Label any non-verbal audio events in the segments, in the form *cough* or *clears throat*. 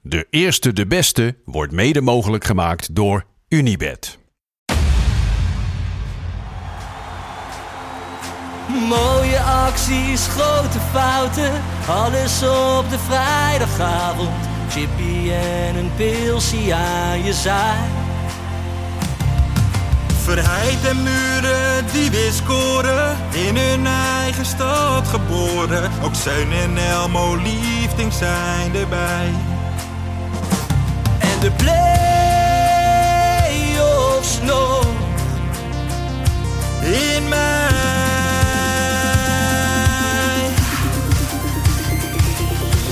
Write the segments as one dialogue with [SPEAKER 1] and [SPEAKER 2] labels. [SPEAKER 1] De eerste, de beste wordt mede mogelijk gemaakt door Unibed.
[SPEAKER 2] Mooie acties, grote fouten, alles op de vrijdagavond. Chippy en een pilsie aan je zaai.
[SPEAKER 3] Verheid en muren die weer scoren, in hun eigen stad geboren. Ook Zijn en Elmo liefding zijn erbij.
[SPEAKER 2] En de play-offs nog
[SPEAKER 3] in mij.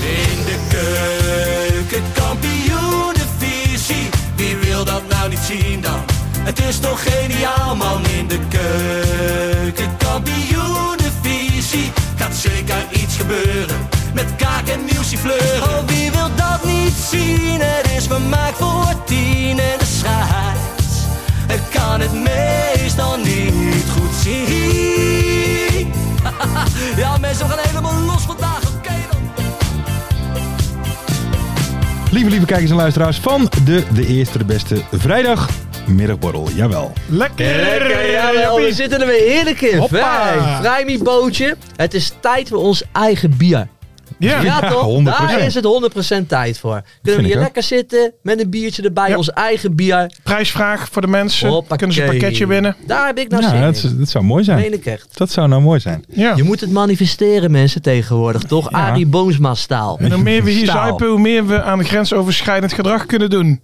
[SPEAKER 2] In de keuken, kampioen de visie. Wie wil dat nou niet zien dan? Het is toch geniaal man in de keuken, kampioen de visie. Gaat zeker iets gebeuren met kaak en nieuwsje fleuren. Oh, wie wil dat niet zien? Het is vermaakt voor tien en de scheids. Ik kan het meestal niet goed zien. *laughs* Ja, mensen, we gaan helemaal los vandaag. Oké dan.
[SPEAKER 4] Lieve, lieve kijkers en luisteraars van de De Eerste de Beste Vrijdag. Middagborrel, jawel.
[SPEAKER 5] Lekker, jawel. We zitten er weer heerlijk in.
[SPEAKER 4] Hoppa.
[SPEAKER 5] Vrij, vrij mijn bootje. Het is tijd voor ons eigen bier. Ja, toch?
[SPEAKER 4] 100%.
[SPEAKER 5] Daar is het 100% tijd voor.
[SPEAKER 4] vind
[SPEAKER 5] Kunnen
[SPEAKER 4] ik
[SPEAKER 5] we hier
[SPEAKER 4] ook.
[SPEAKER 5] lekker zitten met een biertje erbij,
[SPEAKER 6] Ja.
[SPEAKER 5] ons eigen bier.
[SPEAKER 6] Prijsvraag voor de mensen.
[SPEAKER 5] Hoppakee.
[SPEAKER 6] Kunnen ze een pakketje winnen?
[SPEAKER 5] Daar heb ik nou
[SPEAKER 4] Ja,
[SPEAKER 5] zin
[SPEAKER 4] dat,
[SPEAKER 5] in.
[SPEAKER 4] is- dat zou mooi
[SPEAKER 5] Meen
[SPEAKER 4] zijn.
[SPEAKER 5] ik echt.
[SPEAKER 4] Dat zou nou mooi zijn.
[SPEAKER 6] Ja.
[SPEAKER 5] Je moet het manifesteren, mensen, tegenwoordig, toch?
[SPEAKER 4] Ja.
[SPEAKER 5] Arie Boomsma-staal.
[SPEAKER 6] En hoe meer we hier
[SPEAKER 5] Staal.
[SPEAKER 6] zuipen, hoe meer we aan grensoverschrijdend gedrag kunnen doen.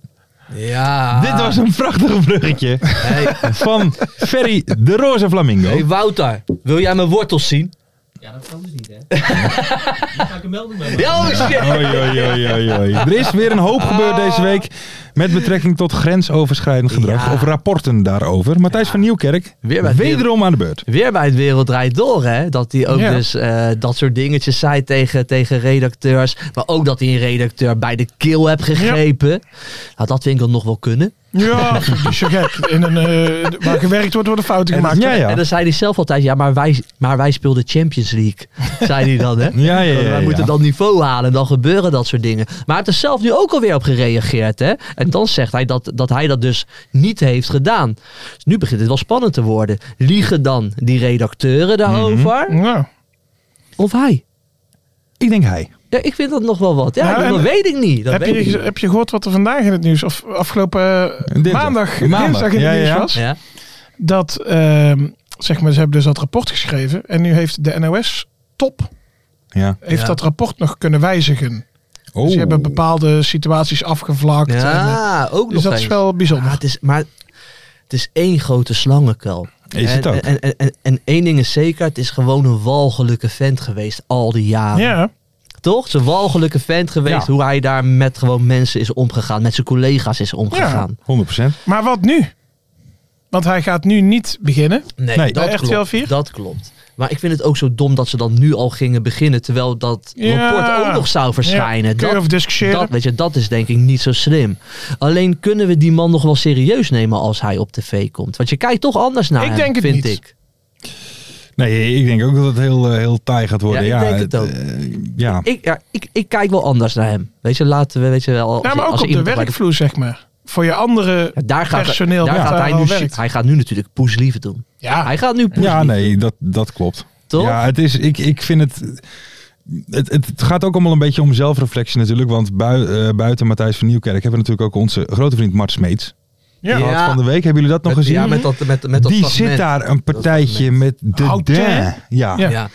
[SPEAKER 5] Ja.
[SPEAKER 4] Dit was een prachtig bruggetje
[SPEAKER 5] Hey,
[SPEAKER 4] van Ferry de Roze Flamingo.
[SPEAKER 5] hey, Wouter, wil jij mijn wortels zien?
[SPEAKER 7] Ja, dat kan dus niet, hè? *laughs* Dan ga ik een melding bij maken.
[SPEAKER 5] Ja, oh shit.
[SPEAKER 4] Oei, oei, oei, oei, oei. Er is weer een hoop gebeurd deze week met betrekking tot grensoverschrijdend gedrag
[SPEAKER 5] Oh. Ja.
[SPEAKER 4] of rapporten daarover. Matthijs van Nieuwkerk,
[SPEAKER 5] Weer bij het
[SPEAKER 4] wederom aan de beurt.
[SPEAKER 5] Weer bij het Wereld Draait Door, hè? Dat hij ook
[SPEAKER 6] Ja.
[SPEAKER 5] dus eh, dat soort dingetjes zei tegen, tegen redacteurs. Maar ook dat hij een redacteur bij de keel hebt gegrepen. Nou, dat vind ik dan nog wel kunnen.
[SPEAKER 6] Ja, *laughs* dat is zo gek. In een, eh, waar gewerkt wordt, worden fouten
[SPEAKER 4] En dat-
[SPEAKER 6] gemaakt.
[SPEAKER 4] ja, ja.
[SPEAKER 5] En dan zei hij zelf altijd, ja, maar wij, maar wij speelden Champions League. zei hij dan, hè?
[SPEAKER 4] Ja, ja, ja,
[SPEAKER 5] wij
[SPEAKER 4] ja.
[SPEAKER 5] moeten dat niveau halen en dan gebeuren dat soort dingen. Maar hij heeft er zelf nu ook alweer op gereageerd, hè? En dan zegt hij dat, dat hij dat dus niet heeft gedaan. Dus nu begint het wel spannend te worden. Liegen dan die redacteuren daarover?
[SPEAKER 6] Ja.
[SPEAKER 5] Of hij?
[SPEAKER 4] Ik denk hij.
[SPEAKER 5] Ja, ik vind dat nog wel wat. Ja,
[SPEAKER 6] Nou,
[SPEAKER 5] dat,
[SPEAKER 6] en-
[SPEAKER 5] dat weet ik niet. Dat
[SPEAKER 6] Heb,
[SPEAKER 5] weet ik
[SPEAKER 6] je,
[SPEAKER 5] niet.
[SPEAKER 6] heb je gehoord wat er vandaag in het nieuws, of afgelopen eh,
[SPEAKER 4] Dinsdag.
[SPEAKER 6] maandag,
[SPEAKER 4] Maandag.
[SPEAKER 6] dinsdag in het
[SPEAKER 4] Ja,
[SPEAKER 6] nieuws
[SPEAKER 4] ja.
[SPEAKER 6] was?
[SPEAKER 5] Ja.
[SPEAKER 6] Dat, ehm, zeg maar, ze hebben dus dat rapport geschreven. En nu heeft de NOS top
[SPEAKER 4] Ja.
[SPEAKER 6] heeft
[SPEAKER 5] Ja.
[SPEAKER 6] dat rapport nog kunnen wijzigen.
[SPEAKER 4] Oh.
[SPEAKER 6] Dus ze hebben bepaalde situaties afgevlakt. en, eh,
[SPEAKER 5] ja, ook nog
[SPEAKER 6] dus dat
[SPEAKER 5] eens.
[SPEAKER 6] is wel
[SPEAKER 5] Ja,
[SPEAKER 6] bijzonder.
[SPEAKER 5] het is, maar het is één grote slangenkuil.
[SPEAKER 4] Is
[SPEAKER 5] en,
[SPEAKER 4] het ook.
[SPEAKER 5] En, en, en, en één ding is zeker, het is gewoon een walgelijke vent geweest al die jaren.
[SPEAKER 6] ja.
[SPEAKER 5] Toch? Het is een walgelijke vent geweest
[SPEAKER 4] Ja.
[SPEAKER 5] hoe hij daar met gewoon mensen is omgegaan. Met zijn collega's is omgegaan.
[SPEAKER 4] 100%.
[SPEAKER 6] Maar wat nu? Want hij gaat nu niet beginnen.
[SPEAKER 5] Nee,
[SPEAKER 4] Nee.
[SPEAKER 5] dat
[SPEAKER 6] Bij RTL
[SPEAKER 5] klopt.
[SPEAKER 6] 4?
[SPEAKER 5] Dat klopt. Maar ik vind het ook zo dom dat ze dan nu al gingen beginnen. Terwijl dat
[SPEAKER 6] Ja.
[SPEAKER 5] rapport ook nog zou verschijnen.
[SPEAKER 6] Ja, kun je
[SPEAKER 5] Dat-
[SPEAKER 6] over discussiëren.
[SPEAKER 5] Dat, weet je, dat is denk ik niet zo slim. Alleen kunnen we die man nog wel serieus nemen als hij op tv komt? Want je kijkt toch anders naar
[SPEAKER 6] Ik
[SPEAKER 5] hem,
[SPEAKER 6] denk het
[SPEAKER 5] vind
[SPEAKER 6] niet.
[SPEAKER 5] ik.
[SPEAKER 4] Nee, ik denk ook dat het heel, eh, heel taai gaat worden.
[SPEAKER 5] Ja,
[SPEAKER 4] Ja,
[SPEAKER 5] ik denk het ook.
[SPEAKER 4] eh, ja.
[SPEAKER 5] Ik, ja, ik, ik kijk wel anders naar hem. Weet je, laten we, weet je wel...
[SPEAKER 6] Ja,
[SPEAKER 5] als-
[SPEAKER 6] maar ook
[SPEAKER 5] als
[SPEAKER 6] op de
[SPEAKER 5] iemand bij
[SPEAKER 6] werkvloer, zeg maar. Voor je andere
[SPEAKER 5] Ja, daar gaat,
[SPEAKER 6] personeel
[SPEAKER 5] daar
[SPEAKER 6] dat
[SPEAKER 5] gaat
[SPEAKER 6] daar
[SPEAKER 5] hij
[SPEAKER 6] al
[SPEAKER 5] nu...
[SPEAKER 6] werkt. Ah.
[SPEAKER 5] Hij gaat nu natuurlijk poeslief doen.
[SPEAKER 6] Ja.
[SPEAKER 5] Hij gaat nu poeslief
[SPEAKER 4] ja, nee, dat, dat klopt.
[SPEAKER 5] Toch?
[SPEAKER 4] Ja, het is, ik, ik vind het, het, het. het gaat ook allemaal een beetje om zelfreflectie natuurlijk. Want bui- eh, buiten Matthijs van Nieuwkerk hebben we natuurlijk ook onze grote vriend Mart Smeets.
[SPEAKER 6] Ja.
[SPEAKER 4] Die had Van de week hebben jullie dat nog
[SPEAKER 5] met,
[SPEAKER 4] gezien?
[SPEAKER 5] ja, met dat, met, met dat
[SPEAKER 4] die
[SPEAKER 5] fragment.
[SPEAKER 4] zit daar een partijtje met de
[SPEAKER 6] Houten, hè?
[SPEAKER 4] ding. Ja,
[SPEAKER 6] Ja.
[SPEAKER 5] Ja.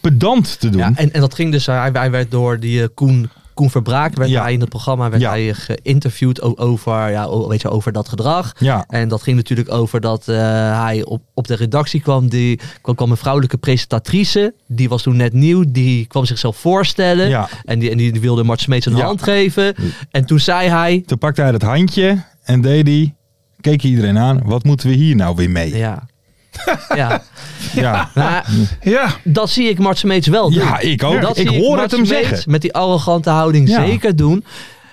[SPEAKER 4] pedant te doen.
[SPEAKER 5] Ja, en, en dat ging dus, hij, hij werd door die eh, Koen, Koen Verbraak, werd
[SPEAKER 4] Ja.
[SPEAKER 5] hij in het programma werd
[SPEAKER 4] Ja.
[SPEAKER 5] hij eh, geïnterviewd o- over, ja, o- weet je, over dat gedrag.
[SPEAKER 4] Ja.
[SPEAKER 5] En dat ging natuurlijk over dat eh, hij op, op de redactie kwam, die, kwam, kwam een vrouwelijke presentatrice, die was toen net nieuw, die kwam zichzelf voorstellen
[SPEAKER 4] Ja.
[SPEAKER 5] en, die, en die wilde Mart Smeets een
[SPEAKER 4] Ja.
[SPEAKER 5] hand geven. En toen zei hij,
[SPEAKER 4] Toen pakte hij het handje en deed hij, keek iedereen aan, wat moeten we hier nou weer mee? Ja, *laughs*
[SPEAKER 5] ja, ja. *laughs*
[SPEAKER 4] ja.
[SPEAKER 5] Maar
[SPEAKER 6] ja.
[SPEAKER 5] dat zie ik Mart Smeets wel doen.
[SPEAKER 4] ik ook.
[SPEAKER 5] Dat
[SPEAKER 4] ik
[SPEAKER 5] zie
[SPEAKER 4] hoor
[SPEAKER 5] Mart
[SPEAKER 4] het hem
[SPEAKER 5] Smeets
[SPEAKER 4] zeggen.
[SPEAKER 5] Met die arrogante houding
[SPEAKER 4] Ja.
[SPEAKER 5] zeker doen.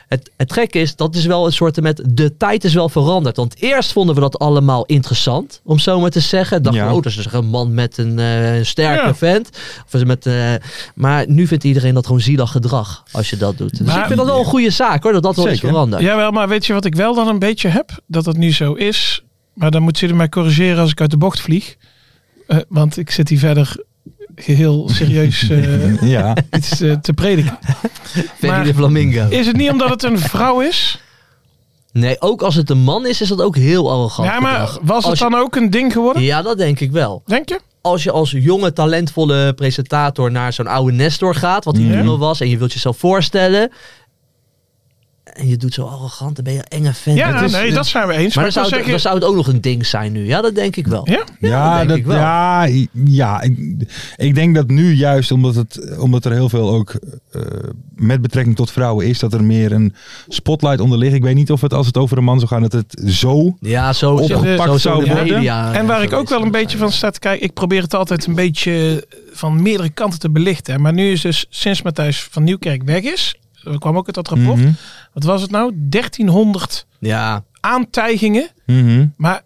[SPEAKER 5] het, het gekke is, dat is wel een soort met de tijd is wel veranderd. Want eerst vonden we dat allemaal interessant, om zo maar te zeggen. Dachten
[SPEAKER 4] Ja.
[SPEAKER 5] we, oh, dat is een man met een eh, een sterke
[SPEAKER 6] Ja.
[SPEAKER 5] vent. Of met, eh, maar nu vindt iedereen dat gewoon zielig gedrag als je dat doet. Dus
[SPEAKER 6] Maar-
[SPEAKER 5] ik vind dat wel een goede zaak hoor, dat dat wel is
[SPEAKER 4] Zeker.
[SPEAKER 5] veranderd.
[SPEAKER 6] Jawel, maar weet je wat ik wel dan een beetje heb? Dat dat nu zo is. Maar dan moet jullie mij corrigeren als ik uit de bocht vlieg. Eh, want ik zit hier verder geheel serieus
[SPEAKER 5] *laughs*
[SPEAKER 6] eh,
[SPEAKER 4] Ja,
[SPEAKER 6] iets eh, te prediken.
[SPEAKER 5] Vind je
[SPEAKER 6] maar-
[SPEAKER 5] de flamingo?
[SPEAKER 6] Is het niet omdat het een vrouw is?
[SPEAKER 5] Nee, ook als het een man is, is dat ook heel arrogant.
[SPEAKER 6] Ja, maar
[SPEAKER 5] gedrag.
[SPEAKER 6] was het
[SPEAKER 5] Als je-
[SPEAKER 6] dan ook een ding geworden?
[SPEAKER 5] Ja, dat denk ik wel.
[SPEAKER 6] Denk je?
[SPEAKER 5] Als je als jonge, talentvolle presentator naar zo'n oude Nestor gaat, wat hij
[SPEAKER 4] Ja.
[SPEAKER 5] toen al was, en je wilt jezelf voorstellen. En je doet zo arrogant, dan ben je een enge fan.
[SPEAKER 6] Ja, nou,
[SPEAKER 5] Dat is-
[SPEAKER 6] nee, dat zijn we eens. Maar,
[SPEAKER 5] Maar dan
[SPEAKER 6] ik wil
[SPEAKER 5] zou, het,
[SPEAKER 6] zeggen...
[SPEAKER 5] dan zou het ook nog een ding zijn nu. Ja, dat denk ik wel.
[SPEAKER 6] Ja?
[SPEAKER 5] dat
[SPEAKER 4] ja,
[SPEAKER 5] denk
[SPEAKER 4] dat,
[SPEAKER 5] ik wel.
[SPEAKER 4] ja, i- ja ik, ik denk dat nu juist omdat, het, omdat er heel veel ook eh, met betrekking tot vrouwen is, dat er meer een spotlight onder ligt. Ik weet niet of het als het over een man zou gaan, dat het zo
[SPEAKER 5] Ja, zo
[SPEAKER 4] Opgepakt
[SPEAKER 5] zo- zo- zo
[SPEAKER 4] eh, zou
[SPEAKER 5] de
[SPEAKER 4] worden.
[SPEAKER 5] media,
[SPEAKER 6] En waar
[SPEAKER 5] zo
[SPEAKER 6] ik ook
[SPEAKER 5] is
[SPEAKER 6] wel een
[SPEAKER 5] dat
[SPEAKER 6] beetje
[SPEAKER 5] zijn.
[SPEAKER 6] van sta te kijken, ik probeer het altijd een beetje eh, van meerdere kanten te belichten. hè. Maar nu is dus, sinds Matthijs van Nieuwkerk weg is, er kwam ook uit dat rapport,
[SPEAKER 4] Mhm.
[SPEAKER 6] wat was het nou? 1300
[SPEAKER 5] Ja,
[SPEAKER 6] aantijgingen.
[SPEAKER 4] Mhm.
[SPEAKER 6] Maar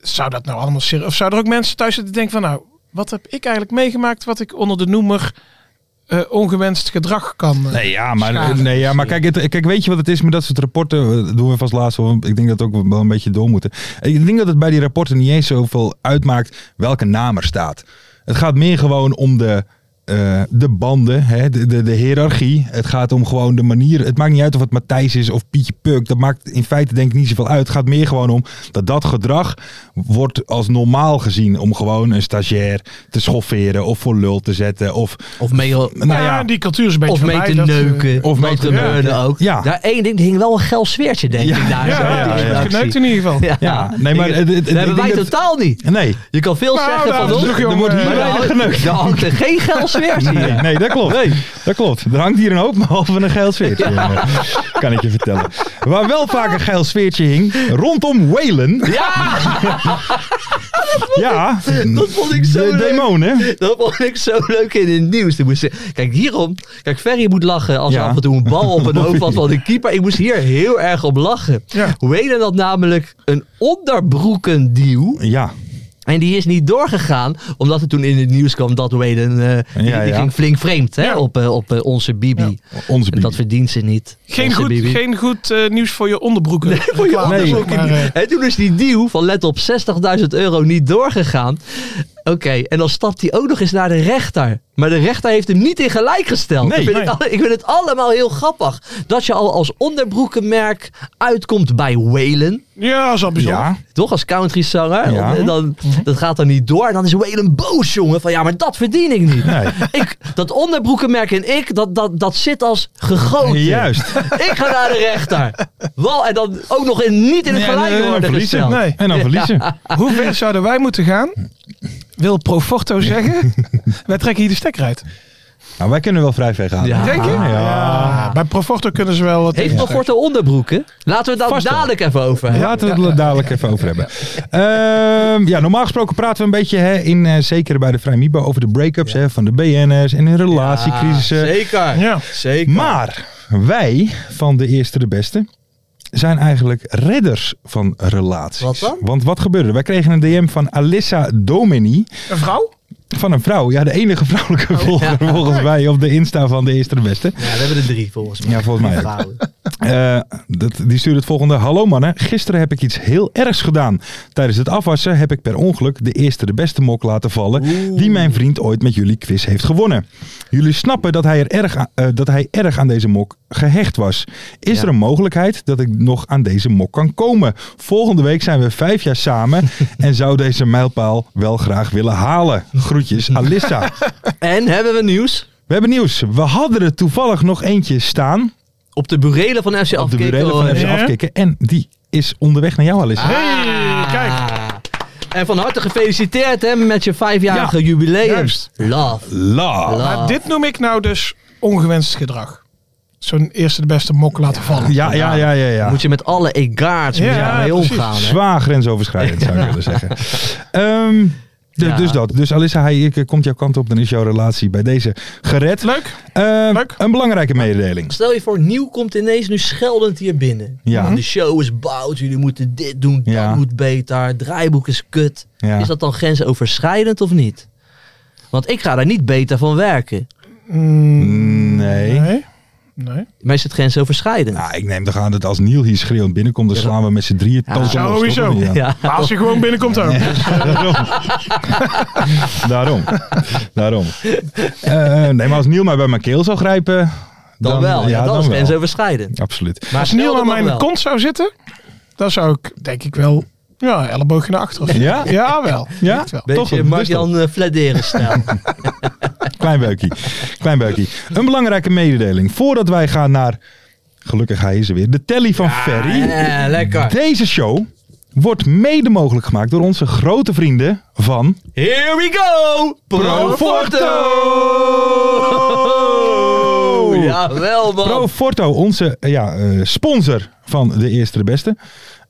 [SPEAKER 6] zou dat nou allemaal serieus? Of zouden er ook mensen thuis zitten die denken van nou, wat heb ik eigenlijk meegemaakt wat ik onder de noemer eh, ongewenst gedrag kan? eh,
[SPEAKER 4] Nee, ja, maar,
[SPEAKER 6] schade.
[SPEAKER 4] nee, ja, maar kijk, het, kijk, weet je wat het is met dat soort rapporten? Dat doen we vast laatst, wel, want ik denk dat we ook wel een beetje door moeten. Eh, Ik denk dat het bij die rapporten niet eens zoveel uitmaakt welke naam er staat. Het gaat meer gewoon om de, eh, de banden, hè, de, de, de hiërarchie. Het gaat om gewoon de manier. Het maakt niet uit of het Matthijs is of Pietje Puk. Dat maakt in feite denk ik niet zoveel uit. Het gaat meer gewoon om dat dat gedrag wordt als normaal gezien. Om gewoon een stagiair te schofferen of voor lul te zetten. Of,
[SPEAKER 5] of mee,
[SPEAKER 4] nou
[SPEAKER 6] ja,
[SPEAKER 4] ja,
[SPEAKER 6] die cultuur is een beetje
[SPEAKER 5] of mee
[SPEAKER 6] voorbij,
[SPEAKER 5] te
[SPEAKER 6] dat, eh,
[SPEAKER 5] neuken.
[SPEAKER 4] of mee
[SPEAKER 5] dat
[SPEAKER 4] te
[SPEAKER 5] gebeurde
[SPEAKER 4] neuken.
[SPEAKER 5] ook.
[SPEAKER 4] Ja.
[SPEAKER 5] Daar één ding er hing wel een geil sfeertje, denk
[SPEAKER 4] Ja.
[SPEAKER 5] ik. Daar,
[SPEAKER 6] ja,
[SPEAKER 5] zo,
[SPEAKER 6] ja,
[SPEAKER 5] die
[SPEAKER 4] ja, ja.
[SPEAKER 6] geneukt
[SPEAKER 5] redactie.
[SPEAKER 6] in ieder geval.
[SPEAKER 5] Ja,
[SPEAKER 4] Ja, nee, maar
[SPEAKER 5] Ik-
[SPEAKER 4] het- het-
[SPEAKER 5] dat
[SPEAKER 4] het-
[SPEAKER 5] hebben
[SPEAKER 4] ik
[SPEAKER 5] wij
[SPEAKER 4] denk dat-
[SPEAKER 5] totaal niet.
[SPEAKER 4] nee.
[SPEAKER 5] Je kan veel
[SPEAKER 6] Nou,
[SPEAKER 5] zeggen
[SPEAKER 6] daar
[SPEAKER 5] van
[SPEAKER 6] is
[SPEAKER 5] ons.
[SPEAKER 6] nog
[SPEAKER 4] Er
[SPEAKER 6] jongen,
[SPEAKER 4] wordt hier
[SPEAKER 6] eh,
[SPEAKER 5] maar
[SPEAKER 4] weinig
[SPEAKER 5] daar-
[SPEAKER 4] geneukt.
[SPEAKER 5] Daar hangt er geen geil sfeertje.
[SPEAKER 4] Nee, nee, dat klopt. Dat klopt. Er hangt hier een hoop behalve een geil sfeertje. jongen. Kan ik je vertellen. Waar wel vaak een geil sfeertje hing, rondom Whalen. *laughs*
[SPEAKER 5] Ja,
[SPEAKER 4] Ja,
[SPEAKER 5] dat vond ik zo
[SPEAKER 4] de
[SPEAKER 5] leuk.
[SPEAKER 4] demonen.
[SPEAKER 5] Dat vond ik zo leuk in het nieuws. Ik moest, kijk, hierom. Kijk, Ferry moet lachen als
[SPEAKER 4] Ja.
[SPEAKER 5] hij af en toe een bal op een hoofd had van de keeper. Ik moest hier heel erg op lachen.
[SPEAKER 6] Ja.
[SPEAKER 5] Hoe heette dat namelijk? Een onderbroekendeal.
[SPEAKER 4] Ja,
[SPEAKER 5] En die is niet doorgegaan, omdat het toen in het nieuws kwam dat Waden, eh die,
[SPEAKER 4] Ja,
[SPEAKER 5] die
[SPEAKER 4] ja.
[SPEAKER 5] ging flink vreemd hè,
[SPEAKER 6] Ja.
[SPEAKER 5] op, eh, op eh, onze Bibi.
[SPEAKER 4] onze
[SPEAKER 5] En dat
[SPEAKER 4] bier.
[SPEAKER 5] verdient ze niet.
[SPEAKER 6] Geen
[SPEAKER 5] onze
[SPEAKER 6] goed,
[SPEAKER 5] Bibi.
[SPEAKER 6] geen goed eh, nieuws voor je onderbroeken.
[SPEAKER 5] voor je
[SPEAKER 6] Reclame,
[SPEAKER 4] onderbroeken.
[SPEAKER 6] zeg maar, eh.
[SPEAKER 5] En toen is die deal van let op 60.000 euro niet doorgegaan. Oké, en dan stapt hij ook nog eens naar de rechter. Maar de rechter heeft hem niet in gelijk gesteld.
[SPEAKER 4] Nee.
[SPEAKER 5] ik, vind
[SPEAKER 4] Nee.
[SPEAKER 5] Het, alle- ik vind het allemaal heel grappig. Dat je al als onderbroekenmerk uitkomt bij Whalen.
[SPEAKER 6] Ja, dat is al bijzonder.
[SPEAKER 4] Ja,
[SPEAKER 5] Toch, als countryzanger.
[SPEAKER 4] Ja. Mhm.
[SPEAKER 5] En dan, dat gaat dan niet door. En dan is Whalen boos, jongen. Van ja, maar dat verdien ik niet.
[SPEAKER 4] Nee.
[SPEAKER 5] Ik, dat onderbroekenmerk en ik, dat, dat, dat zit als gegoten.
[SPEAKER 4] juist.
[SPEAKER 5] *laughs* Ik ga naar de rechter. Wel, en dan ook nog in, niet in
[SPEAKER 4] Nee,
[SPEAKER 5] het
[SPEAKER 4] en,
[SPEAKER 5] gelijk
[SPEAKER 4] eh, dan
[SPEAKER 5] worden
[SPEAKER 4] verliezen.
[SPEAKER 5] gesteld.
[SPEAKER 6] Nee.
[SPEAKER 4] En dan verliezen.
[SPEAKER 6] *laughs* Hoe ver zouden wij moeten gaan? Wil Proforto
[SPEAKER 4] *laughs*
[SPEAKER 6] zeggen? wij trekken hier de stekker uit.
[SPEAKER 4] Nou, wij kunnen wel vrij ver gaan.
[SPEAKER 5] Ja.
[SPEAKER 6] Denk je?
[SPEAKER 4] Ja.
[SPEAKER 6] Bij Proforto kunnen ze wel wat
[SPEAKER 5] Heeft nog korte onderbroeken? Laten we het daar
[SPEAKER 4] Vast wel.
[SPEAKER 5] dadelijk even over hebben.
[SPEAKER 4] Laten we het er dadelijk even over hebben. Ehm, ja, normaal gesproken praten we een beetje, hè, in, eh, zeker bij de Vrij Mibo, over de break-ups hè, van de BN'ers en hun relatiecrisissen.
[SPEAKER 5] Zeker.
[SPEAKER 6] Ja.
[SPEAKER 5] Zeker.
[SPEAKER 4] Maar wij van de eerste de beste zijn eigenlijk redders van relaties.
[SPEAKER 5] Wat dan?
[SPEAKER 4] Want wat gebeurde? er? Wij kregen een DM van Alissa Domini
[SPEAKER 6] Een vrouw?
[SPEAKER 4] van een vrouw. Ja, de enige vrouwelijke volger
[SPEAKER 5] Oh. ja.
[SPEAKER 4] volgens mij op de Insta van de eerste de beste.
[SPEAKER 5] Ja, we hebben er drie volgens mij.
[SPEAKER 4] Ja, volgens mij ook.
[SPEAKER 5] Vrouwen.
[SPEAKER 4] *laughs* Eh, dat, die stuurde het volgende. Hallo mannen, gisteren heb ik iets heel ergs gedaan. Tijdens het afwassen heb ik per ongeluk de eerste de beste mok laten vallen die mijn vriend ooit met jullie quiz heeft gewonnen. Jullie snappen dat hij, er erg, aan- eh, dat hij erg aan deze mok gehecht was. Is
[SPEAKER 5] Ja.
[SPEAKER 4] er een mogelijkheid dat ik nog aan deze mok kan komen? Volgende week zijn we vijf jaar samen en zou deze mijlpaal wel graag willen halen. Groetjes, Alissa.
[SPEAKER 5] En hebben we nieuws?
[SPEAKER 4] We hebben nieuws. We hadden er toevallig nog eentje staan
[SPEAKER 5] Op de burelen van FC
[SPEAKER 4] op de
[SPEAKER 5] Afkikken.
[SPEAKER 4] burelen van
[SPEAKER 5] hoor.
[SPEAKER 4] FC
[SPEAKER 6] Ja.
[SPEAKER 4] afkicken. En die is onderweg naar jou, Alissa.
[SPEAKER 5] Ah.
[SPEAKER 6] Hey, kijk.
[SPEAKER 5] En van harte gefeliciteerd hè, met je vijfjarige jubileum.
[SPEAKER 6] juist.
[SPEAKER 5] Love.
[SPEAKER 4] La.
[SPEAKER 5] Love.
[SPEAKER 6] Maar dit noem ik nou dus ongewenst gedrag. Zo'n eerste de beste mok laten vallen.
[SPEAKER 4] Ja, ja, ja, ja. ja.
[SPEAKER 5] Moet je met alle egaards
[SPEAKER 6] Ja,
[SPEAKER 5] mee
[SPEAKER 6] precies.
[SPEAKER 5] omgaan. hè? *laughs*
[SPEAKER 4] Zwaar grensoverschrijdend, zou ik willen zeggen. Ehm, Dus-
[SPEAKER 5] Ja.
[SPEAKER 4] Dus dat. Dus Alissa, hij ik, eh, komt jouw kant op, dan is jouw relatie bij deze gered.
[SPEAKER 6] Leuk.
[SPEAKER 4] Eh,
[SPEAKER 6] Leuk.
[SPEAKER 4] Een belangrijke mededeling.
[SPEAKER 5] Stel je voor, Nieuw komt ineens nu scheldend hier binnen.
[SPEAKER 4] Ja.
[SPEAKER 5] De show is bout, jullie moeten dit doen, dat
[SPEAKER 4] Ja.
[SPEAKER 5] moet beter, het draaiboek is kut.
[SPEAKER 4] Ja.
[SPEAKER 5] Is dat dan grensoverschrijdend of niet? Want ik ga daar niet beter van werken.
[SPEAKER 6] Mm,
[SPEAKER 4] Nee.
[SPEAKER 6] Nee. Nee.
[SPEAKER 5] Maar is het grensoverschrijdend?
[SPEAKER 4] Nou, ik neem toch aan dat als Niel hier schreeuwend binnenkomt, dan slaan we met z'n drieën
[SPEAKER 5] Ja.
[SPEAKER 4] tas om ons,
[SPEAKER 6] Sowieso.
[SPEAKER 4] toch? Ja.
[SPEAKER 5] Ja.
[SPEAKER 6] Maar als je gewoon binnenkomt ook.
[SPEAKER 4] Daarom.
[SPEAKER 5] *laughs*
[SPEAKER 4] Daarom. Daarom. Eh, nee, maar als Niel mij bij mijn keel zou grijpen...
[SPEAKER 5] Dan, wel, ja, dan, is
[SPEAKER 4] wel.
[SPEAKER 5] grensoverschrijdend.
[SPEAKER 4] Absoluut.
[SPEAKER 5] Maar
[SPEAKER 6] Als
[SPEAKER 5] stel
[SPEAKER 6] Neil
[SPEAKER 5] dat
[SPEAKER 6] aan
[SPEAKER 5] dan
[SPEAKER 6] mijn
[SPEAKER 5] wel.
[SPEAKER 6] kont zou zitten, dan zou ik denk ik wel ja, elleboogje naar achter. of zo.
[SPEAKER 4] Ja?
[SPEAKER 6] Ja, wel.
[SPEAKER 4] Ja?
[SPEAKER 6] Echt wel.
[SPEAKER 4] Toch,
[SPEAKER 5] Beetje
[SPEAKER 4] dus
[SPEAKER 5] Mark-Jan eh,
[SPEAKER 4] *laughs*
[SPEAKER 5] fladeren snel.
[SPEAKER 4] Klein beukie. Klein beukie. Een belangrijke mededeling. Voordat wij gaan naar... Gelukkig hij is er weer. De telly van Ferry.
[SPEAKER 5] Eh, lekker.
[SPEAKER 4] Deze show wordt mede mogelijk gemaakt door onze grote vrienden van...
[SPEAKER 5] Here we go!
[SPEAKER 4] *laughs* Proforto!
[SPEAKER 5] Ja, wel man.
[SPEAKER 4] Proforto, onze eh, ja, eh, sponsor van de Eerste de Beste.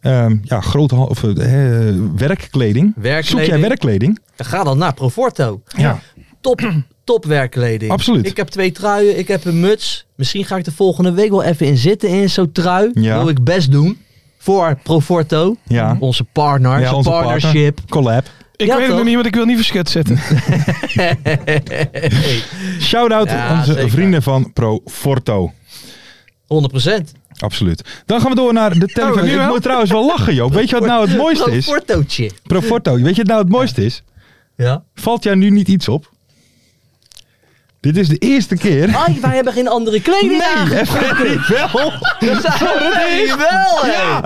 [SPEAKER 4] Ehm, ja, groot ha- of, eh, eh, werkkleding.
[SPEAKER 5] Werkkleding.
[SPEAKER 4] Zoek jij werkkleding?
[SPEAKER 5] Ga dan naar Proforto.
[SPEAKER 4] Ja. *clears throat*
[SPEAKER 5] Top, top werkkleding.
[SPEAKER 4] Absoluut.
[SPEAKER 5] Ik heb twee truien, ik heb een muts. Misschien ga ik er volgende week wel even in zitten in zo'n trui.
[SPEAKER 4] Ja.
[SPEAKER 5] Wil ik best doen. Voor Proforto.
[SPEAKER 4] Ja.
[SPEAKER 5] Onze partner,
[SPEAKER 4] ja,
[SPEAKER 5] onze partnership.
[SPEAKER 4] partner. Collab.
[SPEAKER 6] Ik
[SPEAKER 5] Ja,
[SPEAKER 6] weet het
[SPEAKER 5] toch?
[SPEAKER 6] nog niet, want ik wil niet verschut
[SPEAKER 5] *laughs*
[SPEAKER 6] zitten.
[SPEAKER 4] Shout-out
[SPEAKER 5] Ja,
[SPEAKER 4] aan onze
[SPEAKER 5] zeker.
[SPEAKER 4] vrienden van Proforto.
[SPEAKER 5] 100%.
[SPEAKER 4] Absoluut. Dan gaan we door naar de telefoon.
[SPEAKER 6] Oh, nu
[SPEAKER 4] ik
[SPEAKER 6] wel?
[SPEAKER 4] moet trouwens wel lachen, Joop. Weet je wat nou het mooiste is?
[SPEAKER 5] Profortootje.
[SPEAKER 4] Proforto. Weet je wat nou het mooiste is?
[SPEAKER 5] Ja.
[SPEAKER 4] Valt jou nu niet iets op? Dit is de eerste keer.
[SPEAKER 5] Ai, wij hebben geen andere kleding aan.
[SPEAKER 4] Nee, Ferry
[SPEAKER 5] *laughs*
[SPEAKER 4] wel.
[SPEAKER 5] Nee, wel. Ja.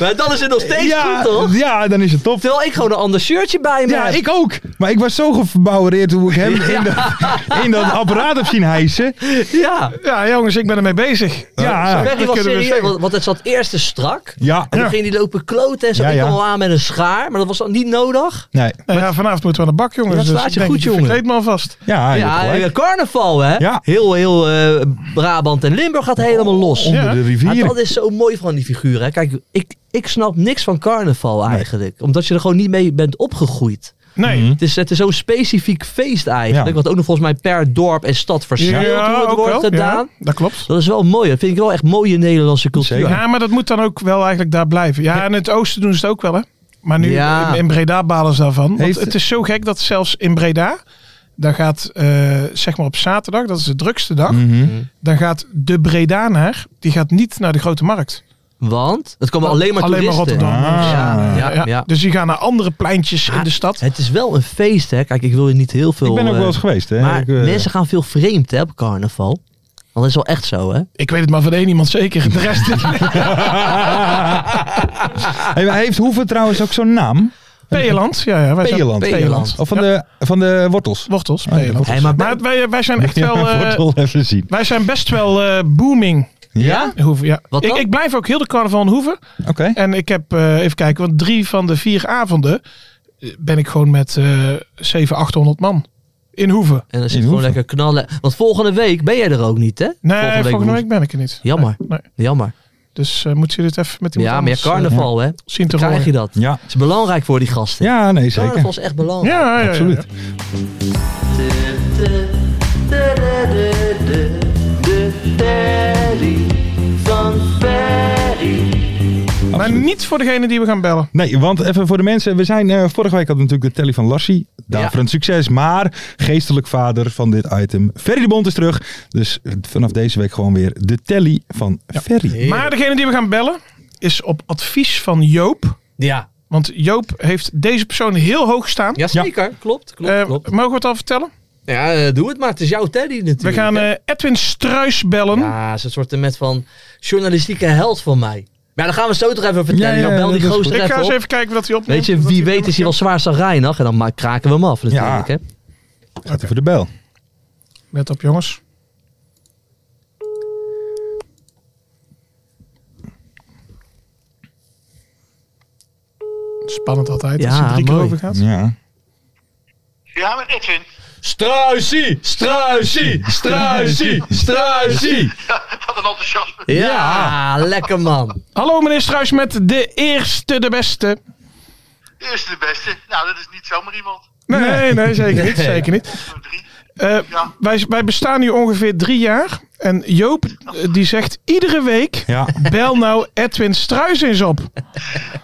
[SPEAKER 5] Maar dan is het nog steeds
[SPEAKER 4] ja,
[SPEAKER 5] goed, toch?
[SPEAKER 4] ja, dan is het top.
[SPEAKER 5] Terwijl ik gewoon een ander shirtje bij me
[SPEAKER 4] Ja,
[SPEAKER 5] heb.
[SPEAKER 4] ik ook. Maar ik was zo verbouwereerd hoe ik hem in, de- in
[SPEAKER 5] *laughs*
[SPEAKER 4] dat apparaat heb zien hijsen.
[SPEAKER 5] Ja.
[SPEAKER 6] Ja, jongens, ik ben ermee bezig.
[SPEAKER 4] Ja,
[SPEAKER 5] Ferry
[SPEAKER 6] dat
[SPEAKER 5] was
[SPEAKER 6] kunnen we
[SPEAKER 5] serieus,
[SPEAKER 6] zeggen.
[SPEAKER 5] want want het zat eerst te strak.
[SPEAKER 4] ja.
[SPEAKER 5] En toen ging die lopen kloten en zo.
[SPEAKER 4] Ja,
[SPEAKER 5] ik
[SPEAKER 4] ja.
[SPEAKER 5] kwam al aan met een schaar, maar dat was dan niet nodig.
[SPEAKER 4] Nee.
[SPEAKER 6] Nou ja, vanavond moeten we aan de bak, jongens.
[SPEAKER 5] Dat
[SPEAKER 6] dus
[SPEAKER 5] slaat je
[SPEAKER 6] ik denk,
[SPEAKER 5] goed,
[SPEAKER 6] ik
[SPEAKER 5] jongen.
[SPEAKER 6] Vergeet me alvast.
[SPEAKER 4] Ja, je hebt
[SPEAKER 5] ja,
[SPEAKER 4] gelijk.
[SPEAKER 5] eh, carnaval, hè?
[SPEAKER 4] Ja. Oh,
[SPEAKER 5] Heel, heel eh, Brabant en Limburg gaat helemaal los.
[SPEAKER 4] onder
[SPEAKER 6] Ja.
[SPEAKER 4] de
[SPEAKER 5] Maar
[SPEAKER 4] rivier.
[SPEAKER 5] dat is zo mooi van die figuur, hè? Kijk, ik, ik snap niks van carnaval eigenlijk. Omdat je er gewoon niet mee bent opgegroeid.
[SPEAKER 6] Nee.
[SPEAKER 4] Mhm.
[SPEAKER 5] Het is, het is zo'n specifiek feest eigenlijk.
[SPEAKER 4] Ja.
[SPEAKER 5] Wat ook nog volgens mij per dorp en stad
[SPEAKER 6] Ja,
[SPEAKER 5] verschillend wordt-
[SPEAKER 6] ook
[SPEAKER 5] wordt
[SPEAKER 6] wel.
[SPEAKER 5] gedaan.
[SPEAKER 6] Ja, dat klopt.
[SPEAKER 5] Dat is wel mooi. Dat vind ik wel echt mooie Nederlandse cultuur.
[SPEAKER 4] Zeker.
[SPEAKER 6] Ja, maar dat moet dan ook wel eigenlijk daar blijven. Ja, in het oosten doen ze het ook wel, hè. Maar nu
[SPEAKER 5] Ja.
[SPEAKER 6] in, in Breda balen ze daarvan. Want
[SPEAKER 4] Heeft-
[SPEAKER 6] het is zo gek dat zelfs in Breda, daar gaat eh, zeg maar op zaterdag, dat is de drukste dag,
[SPEAKER 4] Mhm.
[SPEAKER 6] dan gaat de Bredaner, die gaat niet naar de grote markt.
[SPEAKER 5] Want het komen alleen maar
[SPEAKER 6] alleen maar
[SPEAKER 5] toeristen.
[SPEAKER 6] Rotterdam.
[SPEAKER 4] Ah.
[SPEAKER 5] Ja, ja,
[SPEAKER 6] Ja,
[SPEAKER 5] ja.
[SPEAKER 6] Dus die gaan naar andere pleintjes in de stad.
[SPEAKER 5] Het is wel een feest, hè? Kijk, ik wil je niet heel veel.
[SPEAKER 4] Ik ben ook
[SPEAKER 5] eh,
[SPEAKER 4] wel eens geweest. Hè.
[SPEAKER 5] Maar
[SPEAKER 4] Ik, eh,
[SPEAKER 5] mensen gaan veel vreemd hè, op carnaval. Want Dat is wel echt zo, hè?
[SPEAKER 6] Ik weet het maar van één iemand zeker. De rest
[SPEAKER 5] *laughs*
[SPEAKER 6] is
[SPEAKER 4] hey, maar heeft Hoeven trouwens ook zo'n naam?
[SPEAKER 6] Peeland. Ja, ja, wij zijn
[SPEAKER 4] Peeland.
[SPEAKER 5] Peeland.
[SPEAKER 4] Of van, de, van de wortels?
[SPEAKER 6] Wortels,
[SPEAKER 4] ja,
[SPEAKER 6] Peeland.
[SPEAKER 5] Hey, maar
[SPEAKER 6] Maar wij, wij zijn echt
[SPEAKER 4] Ja,
[SPEAKER 5] *laughs*
[SPEAKER 6] wel... eh,
[SPEAKER 4] wortel even zien.
[SPEAKER 6] wij zijn best wel eh, booming.
[SPEAKER 5] Ja?
[SPEAKER 6] Hoeven, ja.
[SPEAKER 5] Wat dan?
[SPEAKER 6] Ik, ik blijf ook heel de carnaval in Hoeven.
[SPEAKER 4] Oké.
[SPEAKER 6] En ik heb, eh, even kijken, want drie van de vier avonden eh, ben ik gewoon met eh 700, 800 man in Hoeven.
[SPEAKER 5] En dan zit
[SPEAKER 4] In
[SPEAKER 5] gewoon
[SPEAKER 4] hoeven.
[SPEAKER 5] lekker knallen. Want volgende week ben jij er ook niet, hè?
[SPEAKER 6] Nee, volgende week,
[SPEAKER 5] woensdag.
[SPEAKER 6] ben ik er niet.
[SPEAKER 5] Jammer.
[SPEAKER 6] Nee, nee.
[SPEAKER 5] Jammer.
[SPEAKER 6] Dus eh moeten jullie het even met iemand
[SPEAKER 5] ja, maar ja,
[SPEAKER 6] anders, eh,
[SPEAKER 5] carnaval, hè?
[SPEAKER 6] zien te
[SPEAKER 5] Krijg
[SPEAKER 6] horen.
[SPEAKER 5] je dat?
[SPEAKER 4] Ja.
[SPEAKER 5] Het is belangrijk voor die gasten.
[SPEAKER 4] ja, nee, zeker.
[SPEAKER 5] Carnaval is echt belangrijk.
[SPEAKER 6] Ja, ja, ja, ja.
[SPEAKER 4] Absoluut.
[SPEAKER 6] Maar niet voor degene die we gaan bellen.
[SPEAKER 4] Nee, want even voor de mensen. We zijn, eh, vorige week hadden we natuurlijk de telly van Larsie. Daarvoor een succes. Maar geestelijk vader van dit item. Ferry de Bond is terug. Dus eh, vanaf deze week gewoon weer de telly van Ferry.
[SPEAKER 6] Maar degene die we gaan bellen is op advies van Joop.
[SPEAKER 5] Ja,
[SPEAKER 6] Want Joop heeft deze persoon heel hoog staan.
[SPEAKER 5] ja zeker. Klopt, klopt,
[SPEAKER 6] Eh,
[SPEAKER 5] klopt.
[SPEAKER 6] mogen we het al vertellen?
[SPEAKER 5] Ja, eh, doe het maar. Het is jouw teddy natuurlijk.
[SPEAKER 6] We gaan
[SPEAKER 5] hè?
[SPEAKER 6] eh, Edwin Struis bellen.
[SPEAKER 5] Ja, het is een soort met van journalistieke held van mij. Maar dan gaan we zo toch even vertellen.
[SPEAKER 4] Ja, ja,
[SPEAKER 5] dan bel die
[SPEAKER 4] dat is
[SPEAKER 5] gozer
[SPEAKER 6] ik
[SPEAKER 5] even
[SPEAKER 6] ga eens
[SPEAKER 5] op.
[SPEAKER 6] even kijken wat hij opneemt.
[SPEAKER 5] Weet je,
[SPEAKER 6] Wat
[SPEAKER 5] wie
[SPEAKER 6] hij
[SPEAKER 5] weet is hij wel zwaar zagrijnig. En dan ma- kraken we hem af natuurlijk.
[SPEAKER 4] Ja.
[SPEAKER 5] Hè?
[SPEAKER 4] Gaat er voor de bel.
[SPEAKER 6] Let op, jongens. Spannend altijd als
[SPEAKER 5] Ja,
[SPEAKER 6] je drie keer
[SPEAKER 5] mooi.
[SPEAKER 6] over gaat.
[SPEAKER 4] Ja.
[SPEAKER 8] Ja, met Edwin.
[SPEAKER 5] Struisie, struisie, struisie, struisie.
[SPEAKER 8] Wat een enthousiasme.
[SPEAKER 5] Ja, lekker man.
[SPEAKER 6] Hallo meneer Struis met de eerste, de beste.
[SPEAKER 8] De eerste de beste. Nou, dat is niet zomaar iemand.
[SPEAKER 6] Nee, nee, zeker
[SPEAKER 5] *laughs*
[SPEAKER 6] niet. Zeker niet.
[SPEAKER 8] Zo drie.
[SPEAKER 6] Eh,
[SPEAKER 8] Ja.
[SPEAKER 6] wij, wij bestaan nu ongeveer drie jaar. En Joop eh, die zegt iedere week...
[SPEAKER 4] *laughs* Ja.
[SPEAKER 6] Bel nou Edwin Struis eens op.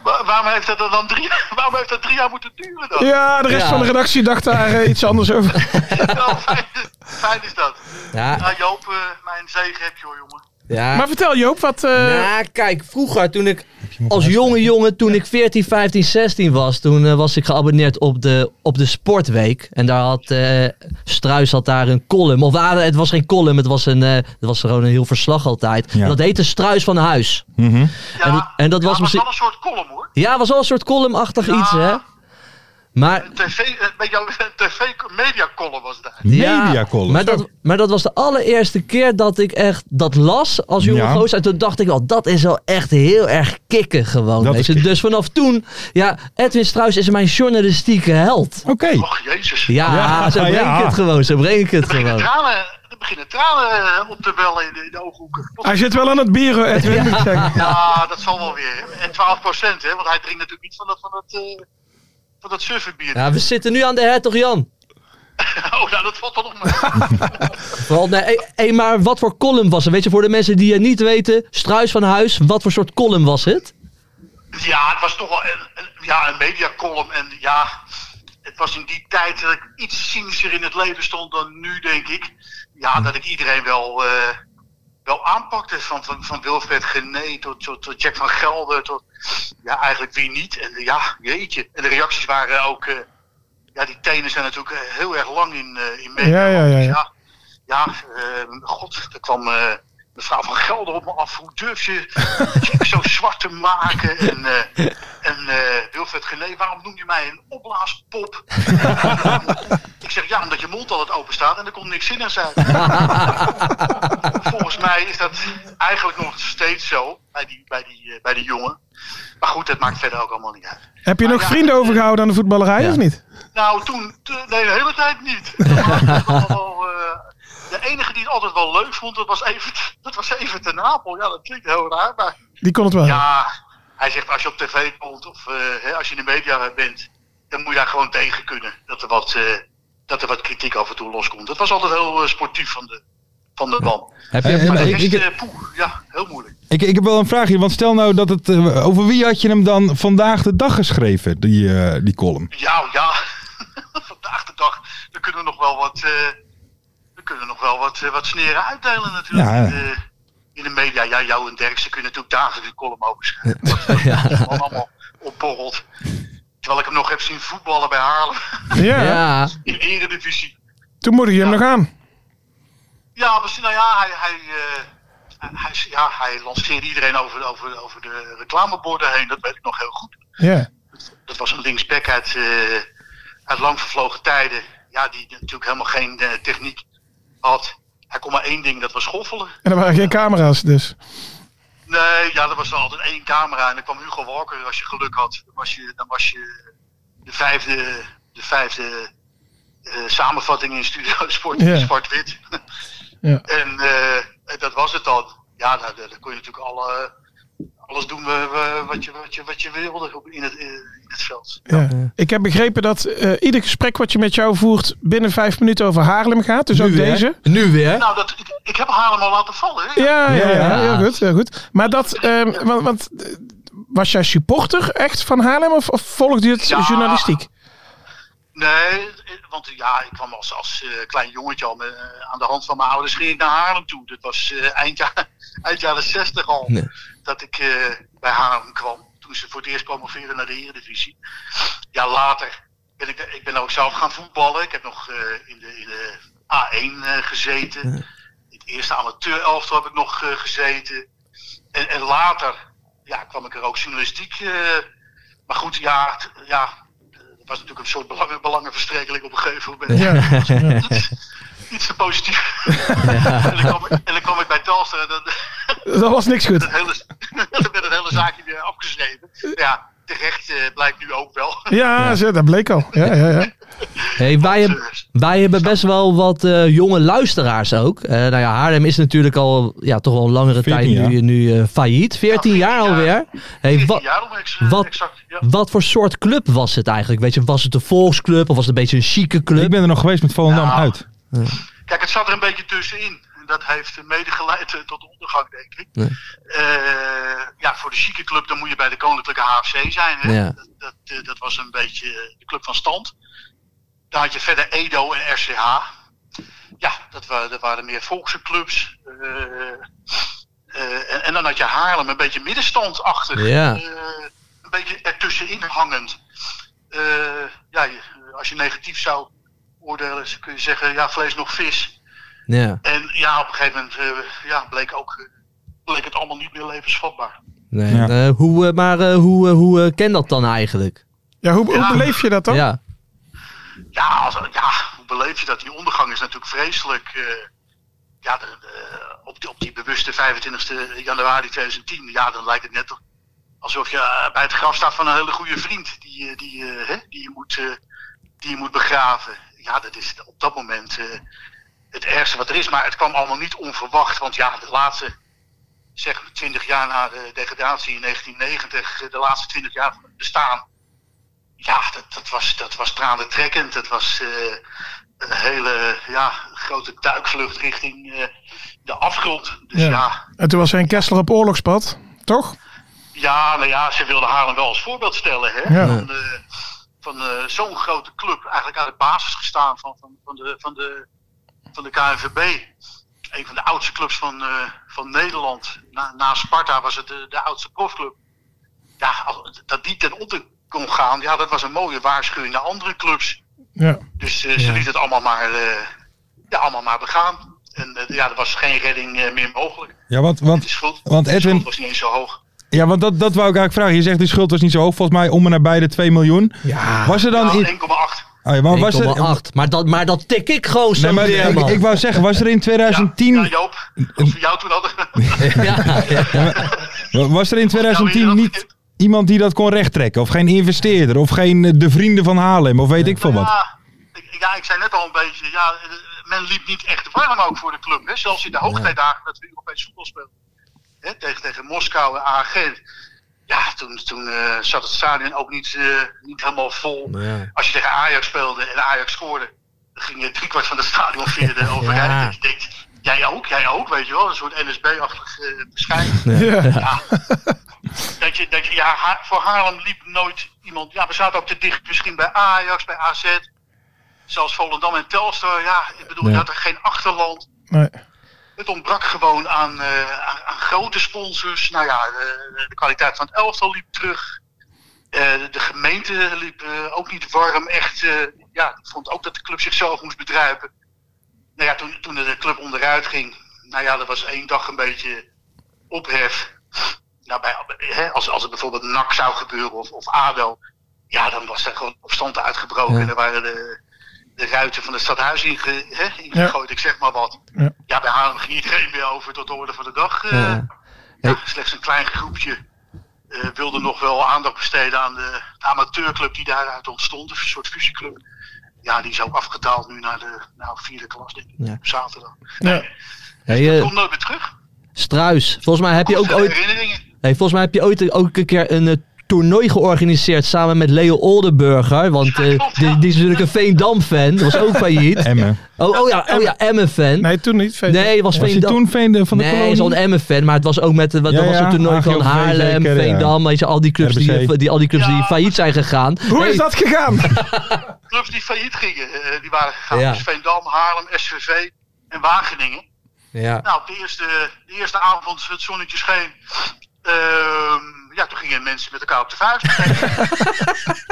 [SPEAKER 8] Wa- waarom heeft dat er dan drie, waarom heeft dat drie jaar moeten duren dan? *laughs*
[SPEAKER 6] Ja, de rest
[SPEAKER 5] Ja.
[SPEAKER 6] van de redactie dacht daar eh, iets anders over.
[SPEAKER 8] Wel, Oh, fijn, fijn is dat.
[SPEAKER 9] Ja,
[SPEAKER 8] Nou Joop, eh, mijn zegen heb je hoor jongen.
[SPEAKER 9] ja.
[SPEAKER 6] Maar vertel Joop, wat... eh,
[SPEAKER 9] Nou, kijk, vroeger toen ik
[SPEAKER 5] Als jonge jongen, toen ik 14, 15, 16 was, toen eh, was ik geabonneerd op de, op de Sportweek. En daar had eh, Struis had daar een column. Of ah, het was geen column, het was, een, eh, het was gewoon een heel verslag altijd.
[SPEAKER 4] Ja.
[SPEAKER 5] En Dat heette Struis van Huis.
[SPEAKER 4] Mhm.
[SPEAKER 8] Ja,
[SPEAKER 5] En dat- en dat
[SPEAKER 8] ja,
[SPEAKER 5] was
[SPEAKER 8] maar
[SPEAKER 5] misschien-
[SPEAKER 8] wel een soort column hoor.
[SPEAKER 5] Ja, was wel een soort columnachtig
[SPEAKER 8] Ja.
[SPEAKER 5] iets, hè? Maar
[SPEAKER 8] Een tv, eh, met *laughs* jouw tv-media column was dat.
[SPEAKER 5] Ja,
[SPEAKER 4] Mediacolumn.
[SPEAKER 5] Maar dat, maar dat was de allereerste keer dat ik echt dat las als jonge
[SPEAKER 4] Ja.
[SPEAKER 5] gozer. En toen dacht ik wel, dat is wel echt heel erg kicken gewoon.
[SPEAKER 4] Dat
[SPEAKER 5] weet
[SPEAKER 4] is
[SPEAKER 5] je.
[SPEAKER 4] kicken.
[SPEAKER 5] Dus vanaf toen, ja, Edwin Struis is mijn journalistieke held.
[SPEAKER 4] Oké.
[SPEAKER 8] Och jezus.
[SPEAKER 5] Ja, *laughs*
[SPEAKER 4] Ja,
[SPEAKER 6] Ah,
[SPEAKER 5] zo breng
[SPEAKER 4] ja.
[SPEAKER 5] ik het gewoon, zo breng ik het
[SPEAKER 8] Er beginnen
[SPEAKER 5] gewoon.
[SPEAKER 8] tranen, er beginnen tranen eh, op te bellen in de, in de ooghoeken.
[SPEAKER 6] Hij zit wel aan het bieren, Edwin, moet ik zeggen.
[SPEAKER 8] Ja, dat zal wel weer. En 12 procent, hè? Want hij drinkt natuurlijk niet van dat, van dat, eh, van dat surferbier.
[SPEAKER 5] Ja, we zitten nu aan de hertog Jan.
[SPEAKER 8] *laughs* Oh, nou, dat valt dan nog mee.
[SPEAKER 5] Vooral, nee, hé, hé, maar wat voor column was het? Weet je, voor de mensen die het niet weten, Struis van Huis, wat voor soort column was het?
[SPEAKER 8] Dus Ja, het was toch wel een, een, ja, een mediacolumn. En ja, het was in die tijd dat ik iets cynischer in het leven stond dan nu, denk ik. Ja, dat ik iedereen wel, eh, wel aanpakte. Van, van, van Wilfred Gené tot, tot, tot Jack van Gelder. Tot, ja, eigenlijk wie niet. En eh, ja, jeetje. En de reacties waren ook... eh, ja, die tenen zijn natuurlijk eh, heel erg lang in, eh in media.
[SPEAKER 6] Ja, ja, ja, ja.
[SPEAKER 8] Dus ja, ja, eh, god, er kwam... eh, Mevrouw van Gelder op me af, hoe durf je
[SPEAKER 6] *laughs*
[SPEAKER 8] je zo zwart te maken? En, eh, en eh, Wilfred Gené, waarom noem je mij een
[SPEAKER 6] *laughs*
[SPEAKER 8] opblaaspop? ik zeg, ja, omdat je mond altijd open staat en er komt niks zinnigs uit. Volgens mij is dat eigenlijk nog steeds zo bij die, bij die, eh, bij die jongen. Maar goed, dat maakt verder ook allemaal niet uit.
[SPEAKER 6] Heb je
[SPEAKER 4] Ah,
[SPEAKER 8] Maar
[SPEAKER 6] nog
[SPEAKER 8] ja,
[SPEAKER 6] vrienden overgehouden aan de voetballerij, of niet?
[SPEAKER 8] Nou, toen, t- nee, de hele tijd niet. Dat was wel, wel, eh, de enige die het altijd wel leuk vond, dat was even, dat was even ten Apel. Ja, dat klinkt heel raar, maar...
[SPEAKER 6] Die kon het wel.
[SPEAKER 8] Ja, hij zegt als je op tv komt of eh, hè, als je in de media bent, dan moet je daar gewoon tegen kunnen. Dat er wat, eh, dat er wat kritiek af en toe loskomt. Dat was altijd heel eh, sportief van de, van de man.
[SPEAKER 5] Heb
[SPEAKER 4] Eh,
[SPEAKER 8] Maar
[SPEAKER 4] eh,
[SPEAKER 8] de
[SPEAKER 4] ik-
[SPEAKER 8] rest,
[SPEAKER 4] ik-
[SPEAKER 8] eh, poeh, ja, heel moeilijk.
[SPEAKER 4] Ik, ik heb wel een vraagje, want stel nou dat het... eh, over wie had je hem dan vandaag de dag geschreven, die, eh, die column?
[SPEAKER 8] Ja, ja. *laughs* Vandaag de dag, dan kunnen we nog wel wat, eh we kunnen nog wel wat, eh, wat sneren uitdelen natuurlijk.
[SPEAKER 4] Ja, ja.
[SPEAKER 8] In, de, in de media, ja, jou en Derksen kunnen natuurlijk dagelijks een column over schrijven. Dat dat is gewoon allemaal opborreld. Terwijl ik hem nog heb zien voetballen bij Haarlem *laughs*
[SPEAKER 6] Ja.
[SPEAKER 5] Ja,
[SPEAKER 8] in Eredivisie.
[SPEAKER 6] Toen moedig je hem
[SPEAKER 8] Ja.
[SPEAKER 6] nog aan.
[SPEAKER 8] Ja, misschien, nou ja, hij, hij, eh, hij, hij- ja, hij lanceerde iedereen over, over, over de reclameborden heen. Dat weet ik nog heel goed.
[SPEAKER 6] Ja.
[SPEAKER 8] Dat was een linksback uit, eh, uit lang vervlogen tijden. Ja, die natuurlijk helemaal geen eh, techniek had. Hij kon maar één ding, dat was schoffelen.
[SPEAKER 6] En er waren geen camera's, dus.
[SPEAKER 8] Nee, ja, er was altijd één camera. En dan kwam Hugo Walker, als je geluk had. Dan was je, dan was je de vijfde, de vijfde eh, samenvatting in Studio *laughs* Sport,
[SPEAKER 6] Ja.
[SPEAKER 8] Zwart-Wit.
[SPEAKER 6] Ja.
[SPEAKER 8] En eh, dat was het dan. Ja, nou, daar, daar kon je natuurlijk alle, alles doen eh, wat, je, wat, je, wat je wilde op- in het, eh, in het veld.
[SPEAKER 6] Ja. Ik heb begrepen dat eh, ieder gesprek wat je met jou voert binnen vijf minuten over Haarlem gaat. Dus ook
[SPEAKER 4] weer, hè?
[SPEAKER 6] deze.
[SPEAKER 5] nu weer.
[SPEAKER 8] Nou, dat, ik, ik heb Haarlem al laten vallen. Hè?
[SPEAKER 6] Ja, ja, ja,
[SPEAKER 5] Ja.
[SPEAKER 6] Heel goed, heel goed. Maar dat, ehm, want, want eh, was jij supporter echt van Haarlem of, of volgde je het
[SPEAKER 8] Ja.
[SPEAKER 6] journalistiek?
[SPEAKER 8] Nee, eh, want eh, ja, ik kwam als, als eh, klein jongetje al met, eh, aan de hand van mijn ouders ging ik naar Haarlem toe. Dat was eh, eind, ja- *laughs* eind jaren 60 al
[SPEAKER 5] Nee.
[SPEAKER 8] dat ik eh, bij Haarlem kwam. Toen ze voor het eerst promoveerden naar de Eredivisie. Ja, later ben ik, ik ben ook zelf gaan voetballen. Ik heb nog eh, in, de, in de A1 eh, gezeten. In het eerste amateurelftal heb ik nog eh, gezeten. En, en later ja, kwam ik er ook journalistiek. eh, maar goed, ja, t- ja, het was natuurlijk een soort belangen, belangenverstrengeling op een gegeven moment. *laughs* Iets te positief. en, dan kwam, ik- en dan kwam ik bij Telstra en dan, *laughs*
[SPEAKER 6] Dat was niks goed.
[SPEAKER 8] het hele, *laughs* dan werd het hele zaakje weer *laughs* afgeschreven. Ja, terecht eh, blijkt nu ook wel.
[SPEAKER 6] Ja, zo, dat bleek al. Ja, ja, ja.
[SPEAKER 5] Hey, wij,
[SPEAKER 8] Want,
[SPEAKER 5] heb-
[SPEAKER 8] eh,
[SPEAKER 5] wij hebben best wel wat eh, jonge luisteraars ook. Eh, nou ja, Haarlem is natuurlijk al ja, toch wel een langere
[SPEAKER 4] 14
[SPEAKER 5] tijd nu,
[SPEAKER 4] jaar.
[SPEAKER 5] nu eh, failliet. 14 jaar
[SPEAKER 8] 14
[SPEAKER 5] alweer.
[SPEAKER 8] jaar.
[SPEAKER 5] Hey,
[SPEAKER 8] 14
[SPEAKER 5] wat,
[SPEAKER 8] jaar om ex- eh,
[SPEAKER 5] wat-
[SPEAKER 8] exact. Ja.
[SPEAKER 5] wat voor soort club was het eigenlijk? Weet je, was het een volksclub of was het een beetje een chique club?
[SPEAKER 4] Ik ben er nog geweest met Volendam
[SPEAKER 8] Ja.
[SPEAKER 4] uit.
[SPEAKER 8] Kijk, het zat er een beetje tussenin. En dat heeft mede geleid eh, tot de ondergang, denk ik.
[SPEAKER 5] Ja.
[SPEAKER 8] Eh, ja, voor de chique club dan moet je bij de Koninklijke HFC zijn. Hè?
[SPEAKER 5] Ja.
[SPEAKER 8] Dat, dat, eh, dat was een beetje eh, de club van stand. Daar had je verder Edo en RCH. Ja, dat, wa- dat waren meer volkse clubs. Eh, eh, en, en dan had je Haarlem, een beetje middenstandachtig.
[SPEAKER 5] Ja.
[SPEAKER 8] Eh, een beetje ertussenin hangend. Eh, ja, je- als je negatief zou oordelen ze kun je zeggen, ja, vlees nog vis.
[SPEAKER 5] Ja,
[SPEAKER 8] En ja, op een gegeven moment eh, ja, bleek, ook, eh, bleek het allemaal niet meer levensvatbaar.
[SPEAKER 5] nee.
[SPEAKER 4] Ja.
[SPEAKER 5] eh, hoe, eh, maar eh, hoe, eh, hoe eh, ken dat dan eigenlijk?
[SPEAKER 6] Ja, hoe, hoe
[SPEAKER 8] Ja.
[SPEAKER 6] beleef je dat dan?
[SPEAKER 5] Ja,
[SPEAKER 8] Ja, als, ja, hoe beleef je dat? Die ondergang is natuurlijk vreselijk. eh, ja, de- de- op, die, op die bewuste 25 januari 2010, ja, dan lijkt het net alsof je eh, bij het graf staat van een hele goede vriend die, je- die, eh, hè, die, je, moet, eh, die je moet begraven. Ja, dat is op dat moment eh, het ergste wat er is. Maar het kwam allemaal niet onverwacht, want ja, de laatste zeg 20 jaar na de degradatie in 1990, eh, de laatste 20 jaar van het bestaan. Ja, dat, dat, was, dat was tranentrekkend. Dat was eh, een hele ja, grote duikvlucht richting eh, de afgrond. Dus
[SPEAKER 6] Ja.
[SPEAKER 8] ja,
[SPEAKER 6] En toen was Henk Kessler op oorlogspad, toch?
[SPEAKER 8] ja, nou ja, ze wilden Haarlem wel als voorbeeld stellen. Hè?
[SPEAKER 6] Ja.
[SPEAKER 8] Van, eh, van eh, zo'n grote club, eigenlijk aan de basis gestaan van, van, van, de, van, de, van de KNVB. Een van de oudste clubs van, eh, van Nederland. Na, na Sparta was het de, de oudste profclub. Ja, als- dat die ten onder kon gaan, ja, dat was een mooie waarschuwing naar andere clubs.
[SPEAKER 6] Ja.
[SPEAKER 8] Dus eh, ze liet het allemaal maar, eh, ja, allemaal maar begaan. En eh, ja, er was geen redding eh, meer mogelijk.
[SPEAKER 4] Ja, want,
[SPEAKER 8] De
[SPEAKER 4] want,
[SPEAKER 8] schuld,
[SPEAKER 4] want
[SPEAKER 8] de schuld
[SPEAKER 4] Edwin-
[SPEAKER 8] was niet eens zo hoog.
[SPEAKER 4] ja, want dat, dat wou ik eigenlijk vragen. Je zegt die schuld was niet zo hoog. Volgens mij om en nabij de 2 miljoen.
[SPEAKER 5] ja.
[SPEAKER 4] Was er dan...
[SPEAKER 8] Ja,
[SPEAKER 4] In,
[SPEAKER 8] 1,8.
[SPEAKER 4] oh ja, maar was er,
[SPEAKER 5] 1,8. Maar dat, maar dat tik ik gewoon zo
[SPEAKER 4] nee, maar
[SPEAKER 5] weer,
[SPEAKER 4] ik,
[SPEAKER 5] man.
[SPEAKER 4] ik wou zeggen, was er in
[SPEAKER 8] Ja,
[SPEAKER 4] 2010...
[SPEAKER 8] ja, Joop, als we jou toen hadden.
[SPEAKER 5] ja.
[SPEAKER 4] Was er in 2010 niet iemand die dat kon rechttrekken? Of geen investeerder? Of geen eh, de vrienden van Haarlem? Of weet ik veel wat?
[SPEAKER 8] Ja, ik, ja, ik zei net al een beetje, ja, eh, men liep niet echt warm ook voor de club. Hè? Zelfs in de hoogtijdagen dat we Europees voetbal speelden. Hè? Tegen, tegen Moskou en AG. Ja, toen, toen eh, zat het stadion ook niet, eh, niet helemaal vol.
[SPEAKER 5] Ja.
[SPEAKER 8] Als je tegen Ajax speelde en Ajax scoorde, dan ging je driekwart van het stadion via de overheid.
[SPEAKER 5] Ja.
[SPEAKER 8] En je denkt, jij ook, jij ook, weet je wel. Een soort NSB-achtig eh bescheid.
[SPEAKER 6] Ja.
[SPEAKER 8] dat je, dat je, ja, Ha- voor Haarlem liep nooit iemand. Ja, we zaten ook te dicht misschien bij Ajax, bij AZ. Zelfs Volendam en Telstar. Ja, ik bedoel,
[SPEAKER 4] Ja.
[SPEAKER 8] je had er geen achterland.
[SPEAKER 6] Nee.
[SPEAKER 8] Het ontbrak gewoon aan, eh, aan, aan grote sponsors. Nou ja, de, de kwaliteit van het elftal liep terug. Eh, de- de gemeente liep eh, ook niet warm. Echt, eh, ja, ik vond ook dat de club zichzelf moest bedruipen. Nou ja, toen, toen de club onderuit ging. Nou ja, dat was één dag een beetje ophef. Nou, bij, hè, als, als het bijvoorbeeld NAC zou gebeuren of, of ADO. Ja, dan was er gewoon opstand uitgebroken.
[SPEAKER 5] Ja.
[SPEAKER 8] En er waren de, de ruiten van het stadhuis inge, hè, ingegooid. Ik zeg maar wat.
[SPEAKER 6] Ja.
[SPEAKER 8] Ja, bij Haarlem ging iedereen weer over tot de orde van de dag. eh.
[SPEAKER 5] Ja.
[SPEAKER 8] Ja, slechts een klein groepje eh, wilde nog wel aandacht besteden aan de, de amateurclub die daaruit ontstond. Een soort fusieclub. Ja, die is ook afgedaald nu naar de nou, vierde klas, denk ik,
[SPEAKER 5] Ja.
[SPEAKER 8] op zaterdag.
[SPEAKER 6] Ja.
[SPEAKER 5] Hey, eh,
[SPEAKER 8] Komt nooit meer terug.
[SPEAKER 5] Struis, volgens mij heb je ook
[SPEAKER 8] Goede
[SPEAKER 5] ooit
[SPEAKER 8] herinneringen.
[SPEAKER 5] Hey, volgens mij heb je ooit ook een keer een eh, toernooi georganiseerd samen met Leo Oldenburger. Want eh,
[SPEAKER 8] klopt,
[SPEAKER 5] die,
[SPEAKER 8] ja.
[SPEAKER 5] die is natuurlijk een Veendam-fan. Dat was ook failliet.
[SPEAKER 4] Emmen.
[SPEAKER 5] Oh, oh ja, oh ja Emmen-fan. Nee,
[SPEAKER 6] Nee, toen niet.
[SPEAKER 5] het was,
[SPEAKER 4] Was hij
[SPEAKER 5] Veendam.
[SPEAKER 4] toen veen de- van de
[SPEAKER 5] nee, hij
[SPEAKER 4] kolonie?
[SPEAKER 5] is al een Emmen-fan, maar het was ook met, eh, wat-
[SPEAKER 4] Ja,
[SPEAKER 5] er was
[SPEAKER 4] ja,
[SPEAKER 5] een toernooi van
[SPEAKER 4] AGOV
[SPEAKER 5] Haarlem,
[SPEAKER 4] zeker, ja.
[SPEAKER 5] Veendam, weet je, al die clubs, die,
[SPEAKER 4] RBC.
[SPEAKER 5] die, al die, clubs die
[SPEAKER 8] Ja.
[SPEAKER 5] failliet zijn gegaan.
[SPEAKER 6] Hoe
[SPEAKER 5] Hey,
[SPEAKER 6] is dat gegaan?
[SPEAKER 8] Clubs die failliet gingen, eh, die waren gegaan.
[SPEAKER 5] Ja.
[SPEAKER 8] Dus Veendam, Haarlem, SVV en Wageningen.
[SPEAKER 5] Ja,
[SPEAKER 8] Nou, op de eerste, de eerste avond het zonnetje scheen. Ehm, ja, toen gingen mensen met elkaar op de
[SPEAKER 5] *laughs*
[SPEAKER 8] vuist.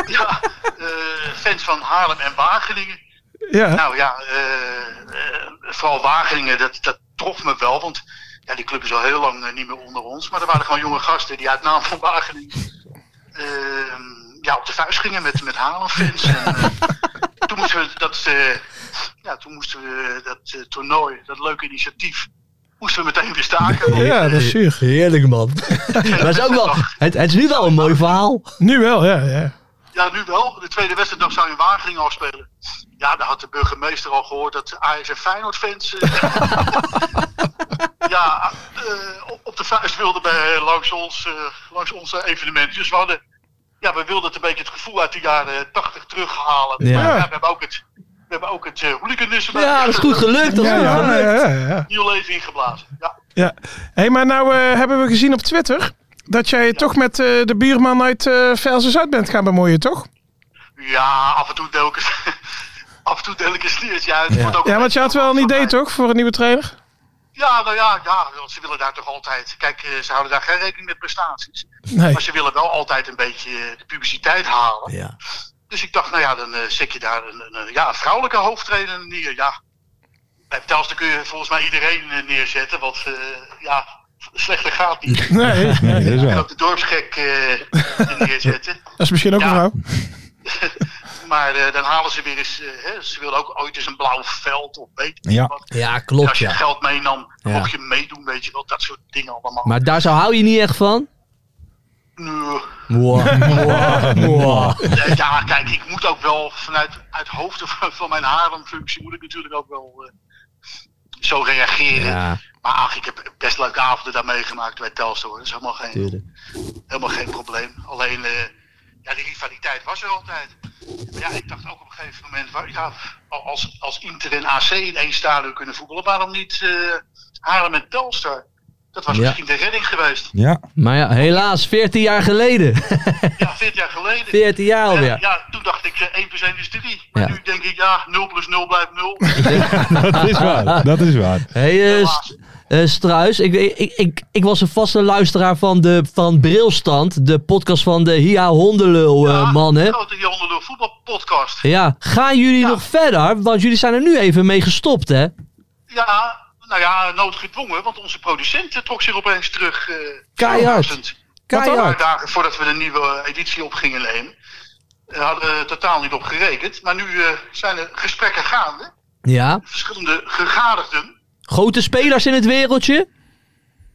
[SPEAKER 8] ja, eh, fans van Haarlem en Wageningen.
[SPEAKER 6] ja.
[SPEAKER 8] Nou ja, eh, eh, vooral Wageningen, dat, dat trof me wel. Want ja, die club is al heel lang eh, niet meer onder ons. Maar er waren gewoon jonge gasten die uit naam van Wageningen eh, ja, op de vuist gingen met, met Halenfans. En, eh, toen moesten we dat, eh, ja, toen moesten we dat eh, toernooi, dat leuke initiatief, moesten we meteen weer staken. Eh, Want,
[SPEAKER 6] ja,
[SPEAKER 8] eh,
[SPEAKER 6] dat is zuur.
[SPEAKER 5] heerlijk man. dat is ook wel, het, het is nu wel een mooi verhaal.
[SPEAKER 6] Nu wel, ja. ja.
[SPEAKER 8] Ja, nu wel. De tweede wedstrijddag zou in Wageningen afspelen. Ja, daar had de burgemeester al gehoord dat Ajax en Feyenoord-fans...
[SPEAKER 6] *laughs*
[SPEAKER 8] eh, ja, eh, op- op de vuist wilden bij, langs ons, eh, langs ons eh, evenement. Dus we hadden... Ja, we wilden het een beetje het gevoel uit de jaren 80 terughalen.
[SPEAKER 5] Ja.
[SPEAKER 8] Maar ja, we hebben ook het... We hebben ook het eh, hooliganisme.
[SPEAKER 5] Ja, dat is goed gelukt. Dat is
[SPEAKER 6] Ja,
[SPEAKER 5] goed
[SPEAKER 6] ja,
[SPEAKER 5] gelukt.
[SPEAKER 6] ja, ja, ja.
[SPEAKER 8] Nieuw leven ingeblazen. Ja,
[SPEAKER 6] Ja. hey, maar nou eh, hebben we gezien op Twitter dat jij toch met eh, de bierman uit eh Velsen Zuid bent gaan bemoeien, toch?
[SPEAKER 8] ja af en toe deel ik het... *laughs* Af en toe deel ik een sliertje uit. Het wordt ook
[SPEAKER 6] Ja,
[SPEAKER 8] een
[SPEAKER 6] want je had wel een
[SPEAKER 8] van
[SPEAKER 6] idee
[SPEAKER 8] mij.
[SPEAKER 6] toch voor een nieuwe trainer?
[SPEAKER 8] Ja, nou ja, ja, want ze willen daar toch altijd. Kijk, eh, ze houden daar geen rekening met prestaties.
[SPEAKER 6] Nee.
[SPEAKER 8] Maar ze willen wel altijd een beetje eh, de publiciteit halen.
[SPEAKER 5] Ja.
[SPEAKER 8] Dus ik dacht, nou ja, dan eh, zet je daar een, een, een- ja, een vrouwelijke hoofdtrainer neer. Ja. Bij Telstra kun je volgens mij iedereen eh, neerzetten. Want eh, ja, slechter gaat niet. Je
[SPEAKER 6] Nee,
[SPEAKER 4] Nee, dat is
[SPEAKER 8] kunt
[SPEAKER 4] wel.
[SPEAKER 8] ook de dorpsgek eh, *laughs* neerzetten.
[SPEAKER 6] dat is misschien ook een
[SPEAKER 8] Ja.
[SPEAKER 6] vrouw.
[SPEAKER 8] Maar eh, dan halen ze weer eens... eh, hè, ze wilden ook ooit eens een blauw veld of weet ik
[SPEAKER 4] Ja.
[SPEAKER 8] wat.
[SPEAKER 5] Ja,
[SPEAKER 8] En
[SPEAKER 5] klopt
[SPEAKER 8] als je
[SPEAKER 5] ja.
[SPEAKER 8] geld meenam, dan
[SPEAKER 5] Ja.
[SPEAKER 8] mocht je meedoen, weet je wel. Dat soort dingen allemaal.
[SPEAKER 5] Maar daar zou hou je niet echt van?
[SPEAKER 8] Nee.
[SPEAKER 5] Wow. Wow. Wow.
[SPEAKER 8] Eh, Ja, kijk, ik moet ook wel vanuit uit hoofden van, van mijn haremfunctie moet ik natuurlijk ook wel eh, zo reageren.
[SPEAKER 5] Ja,
[SPEAKER 8] Maar ach, ik heb best leuke avonden daar meegemaakt bij Telstra. hoor. Dat is helemaal geen,
[SPEAKER 5] tuurlijk.
[SPEAKER 8] helemaal geen probleem. Alleen, eh, ja, die rivaliteit was er altijd. Maar ja, ik dacht ook op een gegeven moment, waar, ja, als, als Inter en AC in één stadion kunnen voetballen, waarom niet eh Haarlem en Telstar? Dat was
[SPEAKER 5] Ja.
[SPEAKER 8] misschien de redding geweest.
[SPEAKER 4] Ja,
[SPEAKER 5] Maar ja, helaas, 14 jaar geleden.
[SPEAKER 8] Ja, 40 jaar geleden.
[SPEAKER 5] 14 jaar
[SPEAKER 8] Ja,
[SPEAKER 5] alweer.
[SPEAKER 8] ja, toen dacht ik eh, 1 plus 1 is 3. Maar
[SPEAKER 5] Ja. Dus-
[SPEAKER 8] nu denk ik, ja, 0 plus 0 blijft
[SPEAKER 5] *laughs*
[SPEAKER 8] 0.
[SPEAKER 4] dat is waar. Dat is waar.
[SPEAKER 5] Hey, eh,
[SPEAKER 8] Helaas.
[SPEAKER 5] Eh, Struis, ik, ik, ik, ik was een vaste luisteraar van, de, van Brilstand, de podcast van de Hia Hondenlul eh,
[SPEAKER 8] Ja,
[SPEAKER 5] man. Hè?
[SPEAKER 8] Grote Jonderlul voetbalpodcast.
[SPEAKER 5] Ja, gaan jullie nog verder? Want jullie zijn er nu even mee gestopt, hè?
[SPEAKER 8] Ja, nou ja, noodgedwongen, want onze producent eh, trok zich opeens terug. eh,
[SPEAKER 5] Keihard.
[SPEAKER 8] verrassend. Een paar
[SPEAKER 5] Keihard.
[SPEAKER 8] dagen voordat we de nieuwe editie op gingen nemen. eh, hadden we totaal niet op gerekend. Maar nu eh, zijn er gesprekken gaande.
[SPEAKER 5] Ja.
[SPEAKER 8] Verschillende gegadigden.
[SPEAKER 5] Grote spelers in het wereldje?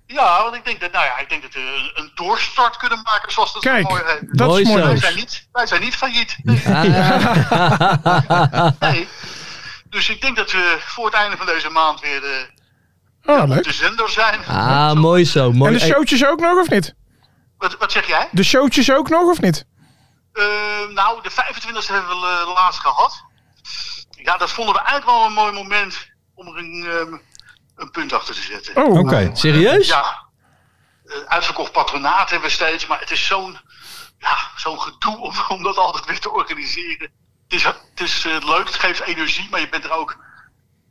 [SPEAKER 8] Ja, want ik denk dat, nou ja, ik denk dat we een, een doorstart kunnen maken, zoals dat zo
[SPEAKER 6] Kijk,
[SPEAKER 8] mooi heet.
[SPEAKER 6] dat
[SPEAKER 5] Mooi
[SPEAKER 6] is mooi.
[SPEAKER 5] zo.
[SPEAKER 8] Wij zijn niet, wij zijn niet failliet. Nee.
[SPEAKER 5] *laughs*
[SPEAKER 8] Nee. Dus ik denk dat we voor het einde van deze maand weer eh,
[SPEAKER 6] Ah, leuk.
[SPEAKER 8] de zender zijn.
[SPEAKER 5] Ah,
[SPEAKER 8] Zo.
[SPEAKER 5] mooi zo. Mooi.
[SPEAKER 6] En de
[SPEAKER 5] Hey,
[SPEAKER 6] showtjes ook nog of niet?
[SPEAKER 8] Wat, wat zeg jij?
[SPEAKER 6] De showtjes ook nog of niet?
[SPEAKER 8] Eh, nou, de 25e hebben we eh, laatst gehad. Ja, dat vonden we eigenlijk wel een mooi moment om er een, ehm, een punt achter te zetten.
[SPEAKER 6] Oh,
[SPEAKER 4] Oké.
[SPEAKER 5] serieus?
[SPEAKER 8] Ja, eh, uitverkocht patronaat hebben we steeds, maar het is zo'n ja, zo'n gedoe om, om dat altijd weer te organiseren. Het is, het is eh, leuk, het geeft energie, maar je bent er ook,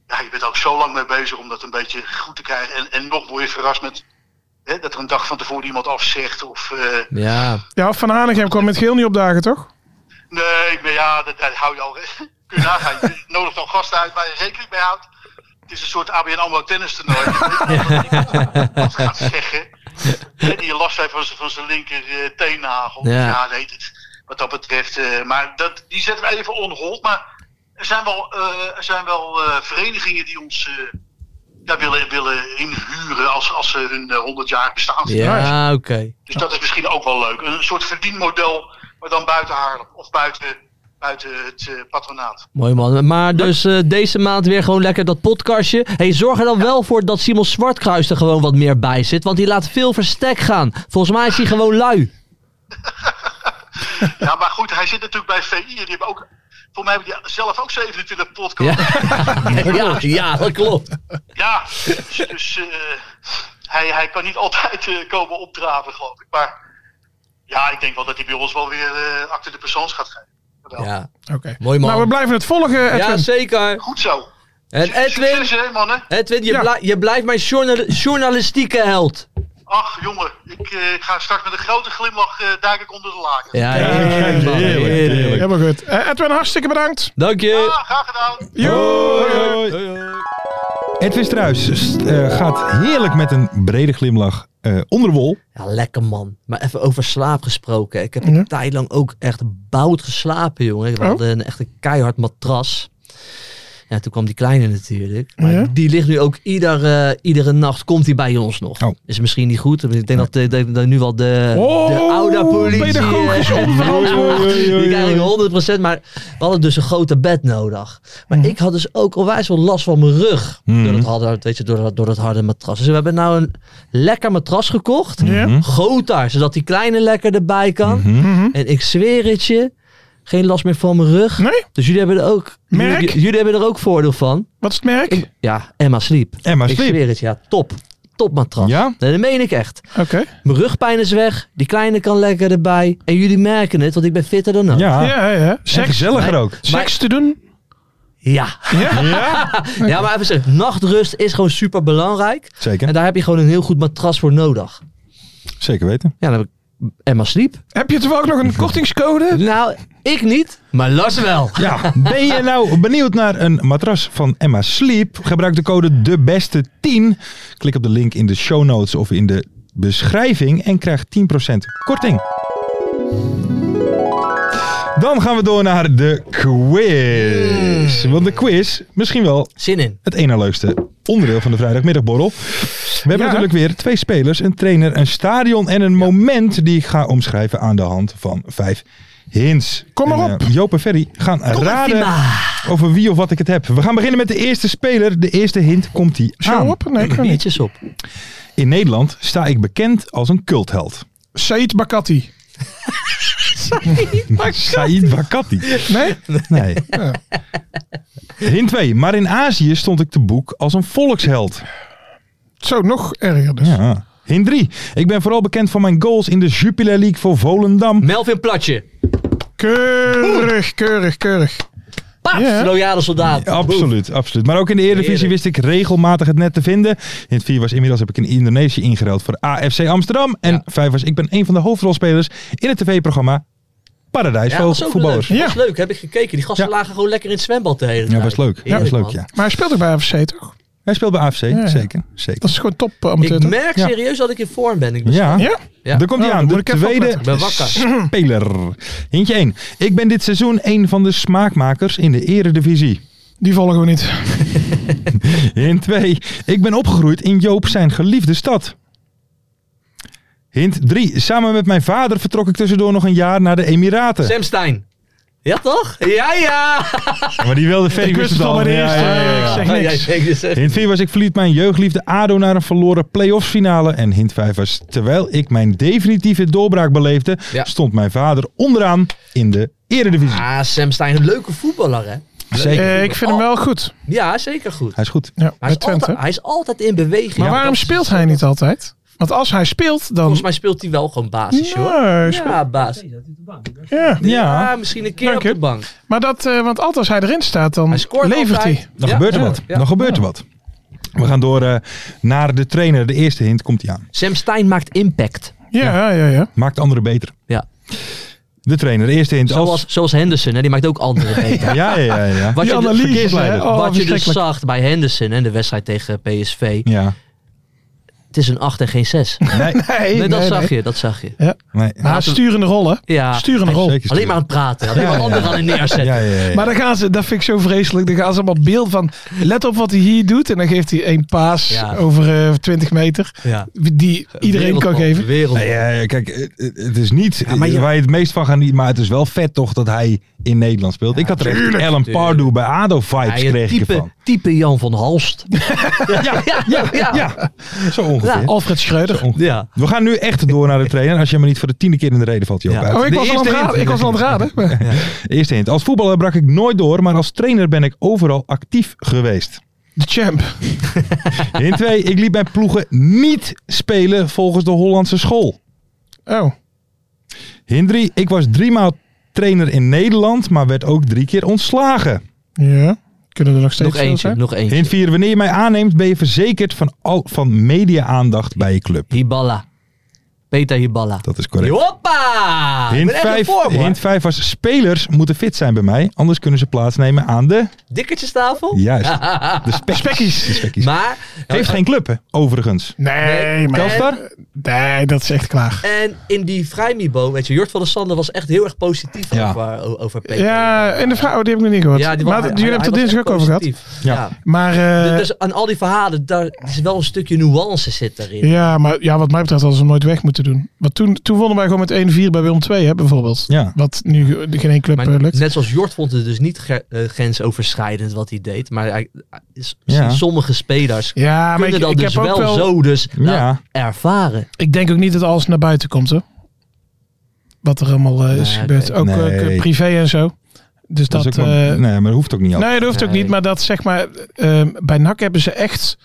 [SPEAKER 8] ja, je bent er ook zo lang mee bezig om dat een beetje goed te krijgen. En, en nog word je verrast met hè, dat er een dag van tevoren iemand afzegt of... eh,
[SPEAKER 5] Ja.
[SPEAKER 6] Ja, Van Hanegem kwam met geel niet opdagen, toch?
[SPEAKER 8] Nee, maar ja, dat, dat hou je al. *laughs* Kun je nagaan. Je nodigt al gasten uit waar je rekening mee houdt. Het is een soort ABN AMRO tennis toernooi. Wat gaat zeggen. En die last heeft van zijn- van zijn linker eh, teennagel.
[SPEAKER 5] Ja.
[SPEAKER 8] Ja, weet het. Wat dat betreft. eh, maar dat, die zetten we even on hold. Maar er zijn wel, eh, er zijn wel eh, verenigingen die ons eh, daar willen, willen inhuren als, als ze hun eh, 100 jaar bestaan.
[SPEAKER 5] Ja, oké.
[SPEAKER 8] Dus dat is misschien ook wel leuk. Een soort verdienmodel, maar dan buiten Haarlem. Of buiten, buiten het eh, patronaat.
[SPEAKER 5] Mooi man. Maar dus eh, deze maand weer gewoon lekker dat podcastje. Hey, zorg er dan wel voor dat Simon Zwartkruis er gewoon wat meer bij zit. Want die laat veel verstek gaan. Volgens mij is hij gewoon lui.
[SPEAKER 8] Ja, maar goed, hij zit natuurlijk bij VI. En die hebben ook, voor mij hebben die zelf ook 27 podcasts. Ja,
[SPEAKER 5] *laughs* Ja, ja, dat klopt.
[SPEAKER 8] dus, dus, eh, hij, hij kan niet *laughs* altijd eh, komen opdraven, geloof ik. Maar ja, ik denk wel dat hij bij ons wel weer eh achter de persoons gaat geven. Wel.
[SPEAKER 5] Ja,
[SPEAKER 6] Oké.
[SPEAKER 5] mooi man.
[SPEAKER 6] Nou, we blijven het volgen, Edwin.
[SPEAKER 5] ja, zeker.
[SPEAKER 8] Goed zo.
[SPEAKER 5] En Edwin,
[SPEAKER 8] Succes, hè, mannen.
[SPEAKER 5] Edwin je,
[SPEAKER 6] Ja.
[SPEAKER 5] blij- je blijft mijn journal- journalistieke held.
[SPEAKER 8] Ach, jongen, ik eh, ga straks met een grote glimlach eh duik ik onder de laken.
[SPEAKER 5] Ja, heerlijk, man.
[SPEAKER 4] heerlijk,
[SPEAKER 5] Heerlijk.
[SPEAKER 4] heerlijk.
[SPEAKER 6] Helemaal goed. Eh, Edwin, hartstikke bedankt.
[SPEAKER 5] Dank je.
[SPEAKER 8] Ah, graag gedaan.
[SPEAKER 4] Hoi, hoi. Edwin Struis st- eh, gaat heerlijk met een brede glimlach eh, onder de
[SPEAKER 5] *laughs*
[SPEAKER 4] wol.
[SPEAKER 5] Ja, lekker man. Maar even over slaap gesproken. Ik heb een tijd lang ook echt bout geslapen, jongen. We
[SPEAKER 6] Oh.
[SPEAKER 5] hadden een, echt een keihard matras. Ja, toen kwam die kleine natuurlijk. Maar
[SPEAKER 6] Ja?
[SPEAKER 5] die ligt nu ook iedere, iedere nacht komt die bij ons nog.
[SPEAKER 4] Oh.
[SPEAKER 5] Is misschien niet goed. maar Ik denk dat, eh, dat, dat nu wel de, de
[SPEAKER 6] Oh,
[SPEAKER 5] oude politie...
[SPEAKER 6] pedagogisch
[SPEAKER 5] eh,
[SPEAKER 6] onverantwoord.
[SPEAKER 5] die
[SPEAKER 4] Oei, oei, oei,
[SPEAKER 5] krijgen
[SPEAKER 4] oei.
[SPEAKER 5] 100%. Maar we hadden dus een grote bed nodig. Maar ik had dus ook onwijs wel last van mijn rug.
[SPEAKER 6] Hmm.
[SPEAKER 4] Mhm.
[SPEAKER 5] Door, dat harde, weet je, door, dat, door dat harde matras. Dus we hebben nou een lekker matras gekocht.
[SPEAKER 6] Ja.
[SPEAKER 4] Mhm.
[SPEAKER 5] Groter, zodat die kleine lekker erbij kan.
[SPEAKER 6] Mhm.
[SPEAKER 5] En ik zweer het je, geen last meer van mijn rug.
[SPEAKER 6] Nee?
[SPEAKER 5] Dus jullie hebben er ook,
[SPEAKER 6] Merk?
[SPEAKER 5] jullie, jullie hebben er ook voordeel van.
[SPEAKER 6] Wat is het merk?
[SPEAKER 5] Ik- ja, Emma Sleep.
[SPEAKER 4] Emma
[SPEAKER 5] Ik
[SPEAKER 4] Sleep.
[SPEAKER 5] zweer het, ja, top. Top matras.
[SPEAKER 4] Ja?
[SPEAKER 5] Nee, dat meen ik echt.
[SPEAKER 6] Oké.
[SPEAKER 5] Mijn rugpijn is weg, die kleine kan lekker erbij. En jullie merken het, want ik ben fitter dan ook.
[SPEAKER 4] Ja.
[SPEAKER 6] Ja, ja, ja.
[SPEAKER 4] En
[SPEAKER 6] Seks,
[SPEAKER 4] gezelliger ook.
[SPEAKER 6] seks te doen?
[SPEAKER 5] Ja,
[SPEAKER 6] Ja.
[SPEAKER 5] ja maar even zeggen, nachtrust is gewoon super belangrijk. En
[SPEAKER 4] Zeker.
[SPEAKER 5] daar heb je gewoon een heel goed matras voor nodig.
[SPEAKER 4] Zeker weten.
[SPEAKER 5] Ja, dan heb ik Emma Sleep.
[SPEAKER 6] *laughs* Heb je toevallig nog een kortingscode?
[SPEAKER 5] Nou, ik niet, maar Lars wel.
[SPEAKER 4] Ja, ben je nou benieuwd naar een matras van Emma Sleep? Gebruik de code de beste 10. Klik op de link in de show notes of in de beschrijving en krijg 10% korting. Dan gaan we door naar de quiz. Want de quiz, misschien wel
[SPEAKER 5] Zin in.
[SPEAKER 4] het ene leukste onderdeel van de vrijdagmiddagborrel. We hebben
[SPEAKER 6] Ja.
[SPEAKER 4] natuurlijk weer twee spelers, een trainer, een stadion en een moment die ik ga omschrijven aan de hand van vijf hints.
[SPEAKER 6] Kom maar
[SPEAKER 4] En,
[SPEAKER 6] op.
[SPEAKER 4] eh, Joop en Ferry gaan raden over wie of wat ik het heb. We gaan beginnen met de eerste speler. De eerste hint komt die
[SPEAKER 6] Show
[SPEAKER 4] aan.
[SPEAKER 6] op? Nee, ik kan niet.
[SPEAKER 5] Biertjes op.
[SPEAKER 4] In Nederland sta ik bekend als een cultheld.
[SPEAKER 6] Said Bakati.
[SPEAKER 4] Said Bakati.
[SPEAKER 6] Nee?
[SPEAKER 4] Nee. Hint 2. Maar in Azië stond ik te boek als een volksheld.
[SPEAKER 6] Zo, nog erger dus.
[SPEAKER 5] Ah.
[SPEAKER 4] Ja. Hint 3. Ik ben vooral bekend van mijn goals in de Jupiler League voor Volendam.
[SPEAKER 5] Melvin Platje.
[SPEAKER 6] Keurig, keurig, keurig.
[SPEAKER 5] Paap,
[SPEAKER 6] Ja.
[SPEAKER 5] loyale soldaat.
[SPEAKER 4] Absoluut, absoluut. Maar ook in de Eredivisie
[SPEAKER 5] Heerlijk.
[SPEAKER 4] wist ik regelmatig het net te vinden. Hint 4 was inmiddels heb ik in Indonesië ingeruild voor AFC Amsterdam. En
[SPEAKER 5] Ja.
[SPEAKER 4] 5 was ik ben een van de hoofdrolspelers in het tv-programma Paradijs
[SPEAKER 5] Ja,
[SPEAKER 4] voor
[SPEAKER 5] was ook leuk.
[SPEAKER 4] voetballers.
[SPEAKER 5] Ja.
[SPEAKER 6] Ja.
[SPEAKER 5] was leuk, heb ik gekeken. Die gasten
[SPEAKER 4] Ja.
[SPEAKER 5] lagen gewoon lekker in het zwembad de hele tijd.
[SPEAKER 4] Ja, was leuk. Ja, was
[SPEAKER 5] Heerlijk,
[SPEAKER 4] leuk,
[SPEAKER 5] man.
[SPEAKER 4] ja.
[SPEAKER 6] Maar hij speelt ook bij AFC toch?
[SPEAKER 4] Hij speelt bij AFC,
[SPEAKER 6] ja.
[SPEAKER 4] zeker. zeker.
[SPEAKER 6] Dat is gewoon top eh, amateur.
[SPEAKER 5] Ik
[SPEAKER 6] toch?
[SPEAKER 5] merk
[SPEAKER 4] Ja.
[SPEAKER 5] serieus dat ik in vorm ben. Ik ben
[SPEAKER 4] Ja.
[SPEAKER 6] Ja?
[SPEAKER 5] Ja.
[SPEAKER 4] daar komt hij
[SPEAKER 6] Oh,
[SPEAKER 4] aan.
[SPEAKER 6] moet
[SPEAKER 4] De
[SPEAKER 6] ik even
[SPEAKER 4] tweede
[SPEAKER 6] opletten.
[SPEAKER 5] ben wakker.
[SPEAKER 4] speler. Hintje 1. Ik ben dit seizoen een van de smaakmakers in de eredivisie.
[SPEAKER 6] Die volgen we niet.
[SPEAKER 4] Hint 2. Ik ben opgegroeid in Joop zijn geliefde stad. Hint 3. Samen met mijn vader vertrok ik tussendoor nog een jaar naar de Emiraten.
[SPEAKER 5] Sam Stein. Ja toch? Ja, ja.
[SPEAKER 4] Maar die wilde Ferry
[SPEAKER 6] Ik wist het al bij de
[SPEAKER 4] Ja,
[SPEAKER 6] eerste.
[SPEAKER 4] ja, ja, ja.
[SPEAKER 6] Ik zeg
[SPEAKER 5] Ja, jij
[SPEAKER 6] niks.
[SPEAKER 5] zegt het, eh.
[SPEAKER 4] Hint 4 was ik verliet mijn jeugdliefde ADO naar een verloren play-offs finale. En hint 5 was terwijl ik mijn definitieve doorbraak beleefde,
[SPEAKER 5] Ja.
[SPEAKER 4] stond mijn vader onderaan in de eredivisie.
[SPEAKER 5] Ah, Sam Stein, een leuke voetballer hè?
[SPEAKER 4] Zeker.
[SPEAKER 6] Eh, ik vind hem wel goed.
[SPEAKER 5] Ja, zeker goed.
[SPEAKER 4] Hij is goed.
[SPEAKER 6] Ja,
[SPEAKER 5] Hij is,
[SPEAKER 6] bij Twente.
[SPEAKER 5] altijd, hij is altijd in beweging.
[SPEAKER 6] Maar
[SPEAKER 5] Ja,
[SPEAKER 6] waarom
[SPEAKER 5] dat-
[SPEAKER 6] speelt hij niet altijd? Want als hij speelt, dan...
[SPEAKER 5] Volgens mij speelt hij wel gewoon basis hoor.
[SPEAKER 6] Nee, hij speelt-
[SPEAKER 5] Ja, basis.
[SPEAKER 6] ja.
[SPEAKER 4] Ja.
[SPEAKER 5] Ja, misschien een keer
[SPEAKER 6] Dank
[SPEAKER 5] op de
[SPEAKER 6] je.
[SPEAKER 5] bank.
[SPEAKER 6] Maar dat, eh, want altijd als hij erin staat, dan
[SPEAKER 5] Hij scoort
[SPEAKER 6] levert
[SPEAKER 5] altijd.
[SPEAKER 6] hij.
[SPEAKER 4] Dan
[SPEAKER 5] Ja,
[SPEAKER 4] gebeurt er
[SPEAKER 5] ja,
[SPEAKER 4] wat.
[SPEAKER 5] ja.
[SPEAKER 4] Dan gebeurt er wat. We gaan door eh, naar de trainer. De eerste hint komt hij aan.
[SPEAKER 5] Sam Stein maakt impact.
[SPEAKER 6] Ja, ja, ja. ja.
[SPEAKER 4] Maakt anderen beter.
[SPEAKER 5] Ja.
[SPEAKER 4] De trainer, de eerste hint.
[SPEAKER 5] Zoals, zoals Henderson, hè? die maakt ook
[SPEAKER 4] *laughs*
[SPEAKER 5] andere beter.
[SPEAKER 4] Als, ja, ja, ja. ja.
[SPEAKER 5] *laughs* Wat
[SPEAKER 6] Die
[SPEAKER 5] je dus-
[SPEAKER 6] analyses,
[SPEAKER 4] verkeersleider.
[SPEAKER 6] hè? Oh,
[SPEAKER 5] Wat je dus
[SPEAKER 6] verschrikkelijk.
[SPEAKER 5] zag bij Henderson en de wedstrijd tegen PSV.
[SPEAKER 4] ja.
[SPEAKER 5] Het is een 8 en
[SPEAKER 6] *laughs*
[SPEAKER 5] geen 6. Nee,
[SPEAKER 4] Nee,
[SPEAKER 5] *laughs*
[SPEAKER 6] Nee,
[SPEAKER 5] dat
[SPEAKER 6] nee,
[SPEAKER 5] zag
[SPEAKER 6] nee.
[SPEAKER 5] je, dat zag je.
[SPEAKER 4] nee.
[SPEAKER 6] Maar Ah, sturende rol, hè?
[SPEAKER 5] Ja.
[SPEAKER 6] Sturende rol.
[SPEAKER 4] Zeker
[SPEAKER 5] Oh, Alleen maar aan het praten. Alleen maar
[SPEAKER 4] Ja,
[SPEAKER 5] anderen aan het neerzetten.
[SPEAKER 4] Ja, ja, ja.
[SPEAKER 6] Maar dan gaan ze, dat vind ik zo vreselijk. Dan gaan ze allemaal beeld van. Let op wat hij hier doet. En dan geeft hij één paas
[SPEAKER 5] Ja.
[SPEAKER 6] over eh, 20 meter.
[SPEAKER 5] Ja.
[SPEAKER 6] Die iedereen kan
[SPEAKER 5] Wereldbal,
[SPEAKER 6] geven.
[SPEAKER 5] Wereld.
[SPEAKER 4] Nee, ja, ja, kijk, eh, eh, het is niet
[SPEAKER 5] maar
[SPEAKER 4] eh,
[SPEAKER 5] ja.
[SPEAKER 4] waar je het meest van gaat niet, maar het is wel vet toch dat hij in Nederland speelt. ik had er echt Alan Pardew bij ADO vibes
[SPEAKER 5] Hij een
[SPEAKER 4] kreeg ik
[SPEAKER 5] type,
[SPEAKER 4] ervan.
[SPEAKER 5] type Jan van Halst.
[SPEAKER 4] Ja, ja, ja,
[SPEAKER 5] ja.
[SPEAKER 4] zo ongeveer.
[SPEAKER 6] Alfred Schreuder.
[SPEAKER 5] Ja.
[SPEAKER 4] We gaan nu echt door naar de trainer. Als je me niet voor de tiende keer in de reden valt, Joop.
[SPEAKER 5] Ja.
[SPEAKER 4] uit.
[SPEAKER 6] Oh, ik
[SPEAKER 4] De
[SPEAKER 6] was, al aan
[SPEAKER 4] eerste
[SPEAKER 6] het raden.
[SPEAKER 4] hint.
[SPEAKER 6] ik was al aan het raden.
[SPEAKER 5] *laughs*
[SPEAKER 4] Eerste hint. Als voetballer brak ik nooit door, maar als trainer ben ik overal actief geweest.
[SPEAKER 6] De champ.
[SPEAKER 4] Hint 2. Ik liet mijn ploegen niet spelen volgens de Hollandse school.
[SPEAKER 6] Oh,
[SPEAKER 4] Hint 3. Ik was driemaal trainer in Nederland, maar werd ook drie keer ontslagen.
[SPEAKER 6] ja. Kunnen er nog steeds
[SPEAKER 5] Nog
[SPEAKER 6] veel
[SPEAKER 5] eentje,
[SPEAKER 6] zijn?
[SPEAKER 5] nog eentje.
[SPEAKER 4] Hint 4. Wanneer je mij aanneemt, ben je verzekerd van, al, van media-aandacht bij je club.
[SPEAKER 5] Hiballa. Peter Hiballa.
[SPEAKER 4] Dat is correct.
[SPEAKER 5] Hoppa! Ah, Ik
[SPEAKER 4] Hint
[SPEAKER 5] ben echt in
[SPEAKER 4] 5,
[SPEAKER 5] vorm, hoor.
[SPEAKER 4] hint 5 was spelers moeten fit zijn bij mij, anders kunnen ze plaatsnemen aan de...
[SPEAKER 5] Dikkertjestafel?
[SPEAKER 4] Juist,
[SPEAKER 5] *laughs*
[SPEAKER 4] de spekkies. De spekkies.
[SPEAKER 5] Maar,
[SPEAKER 4] Heeft geen club, hè, overigens.
[SPEAKER 6] Nee, maar...
[SPEAKER 4] Telstar?
[SPEAKER 6] Nee, dat is echt klaar.
[SPEAKER 5] en in die Vrijmibo, weet je, Jort van der Sande was echt heel erg positief
[SPEAKER 4] Ja.
[SPEAKER 5] over, o- over Peter.
[SPEAKER 6] Ja, en de vrouw, oh, die heb ik nog niet gehoord.
[SPEAKER 5] Ja, die was-
[SPEAKER 6] maar
[SPEAKER 5] hij-
[SPEAKER 6] jullie
[SPEAKER 5] hij
[SPEAKER 6] hebben het
[SPEAKER 5] was
[SPEAKER 6] dinsdag
[SPEAKER 5] echt
[SPEAKER 6] ook over gehad.
[SPEAKER 5] positief.
[SPEAKER 4] Ja.
[SPEAKER 5] Ja.
[SPEAKER 6] Maar, eh,
[SPEAKER 5] Dus aan al die verhalen, daar is wel een stukje nuance zit daarin.
[SPEAKER 6] ja, maar ja, wat mij betreft hadden ze hem nooit weg moeten doen. Want toen, toen wonnen wij gewoon met 1-4 bij Willem 2, hè, bijvoorbeeld.
[SPEAKER 4] Ja.
[SPEAKER 6] Wat nu eh, geen één club
[SPEAKER 5] Maar
[SPEAKER 6] eh, lukt.
[SPEAKER 5] net zoals Jort vond het dus niet gre- eh, grensoverschrijdend wat hij deed. Maar hij, hij is,
[SPEAKER 4] Ja.
[SPEAKER 5] sommige spelers
[SPEAKER 6] Ja, maar
[SPEAKER 5] kunnen
[SPEAKER 6] ik,
[SPEAKER 5] dat
[SPEAKER 6] ik
[SPEAKER 5] dus
[SPEAKER 6] heb ook
[SPEAKER 5] wel,
[SPEAKER 6] wel...
[SPEAKER 5] zo dus nou,
[SPEAKER 4] Ja.
[SPEAKER 5] ervaren.
[SPEAKER 6] Ik denk ook niet dat alles naar buiten komt, hoor. Wat er allemaal eh, is
[SPEAKER 5] Nee,
[SPEAKER 6] gebeurd.
[SPEAKER 5] nee.
[SPEAKER 6] Ook eh,
[SPEAKER 4] Nee.
[SPEAKER 6] privé en zo. Dus
[SPEAKER 4] Dat
[SPEAKER 6] dat...
[SPEAKER 4] is ook wel-
[SPEAKER 6] eh,
[SPEAKER 4] nee, maar dat hoeft ook niet. altijd.
[SPEAKER 6] Nee, dat hoeft ook
[SPEAKER 5] Nee.
[SPEAKER 6] niet. Maar dat zeg maar, eh, bij NAC hebben ze echt,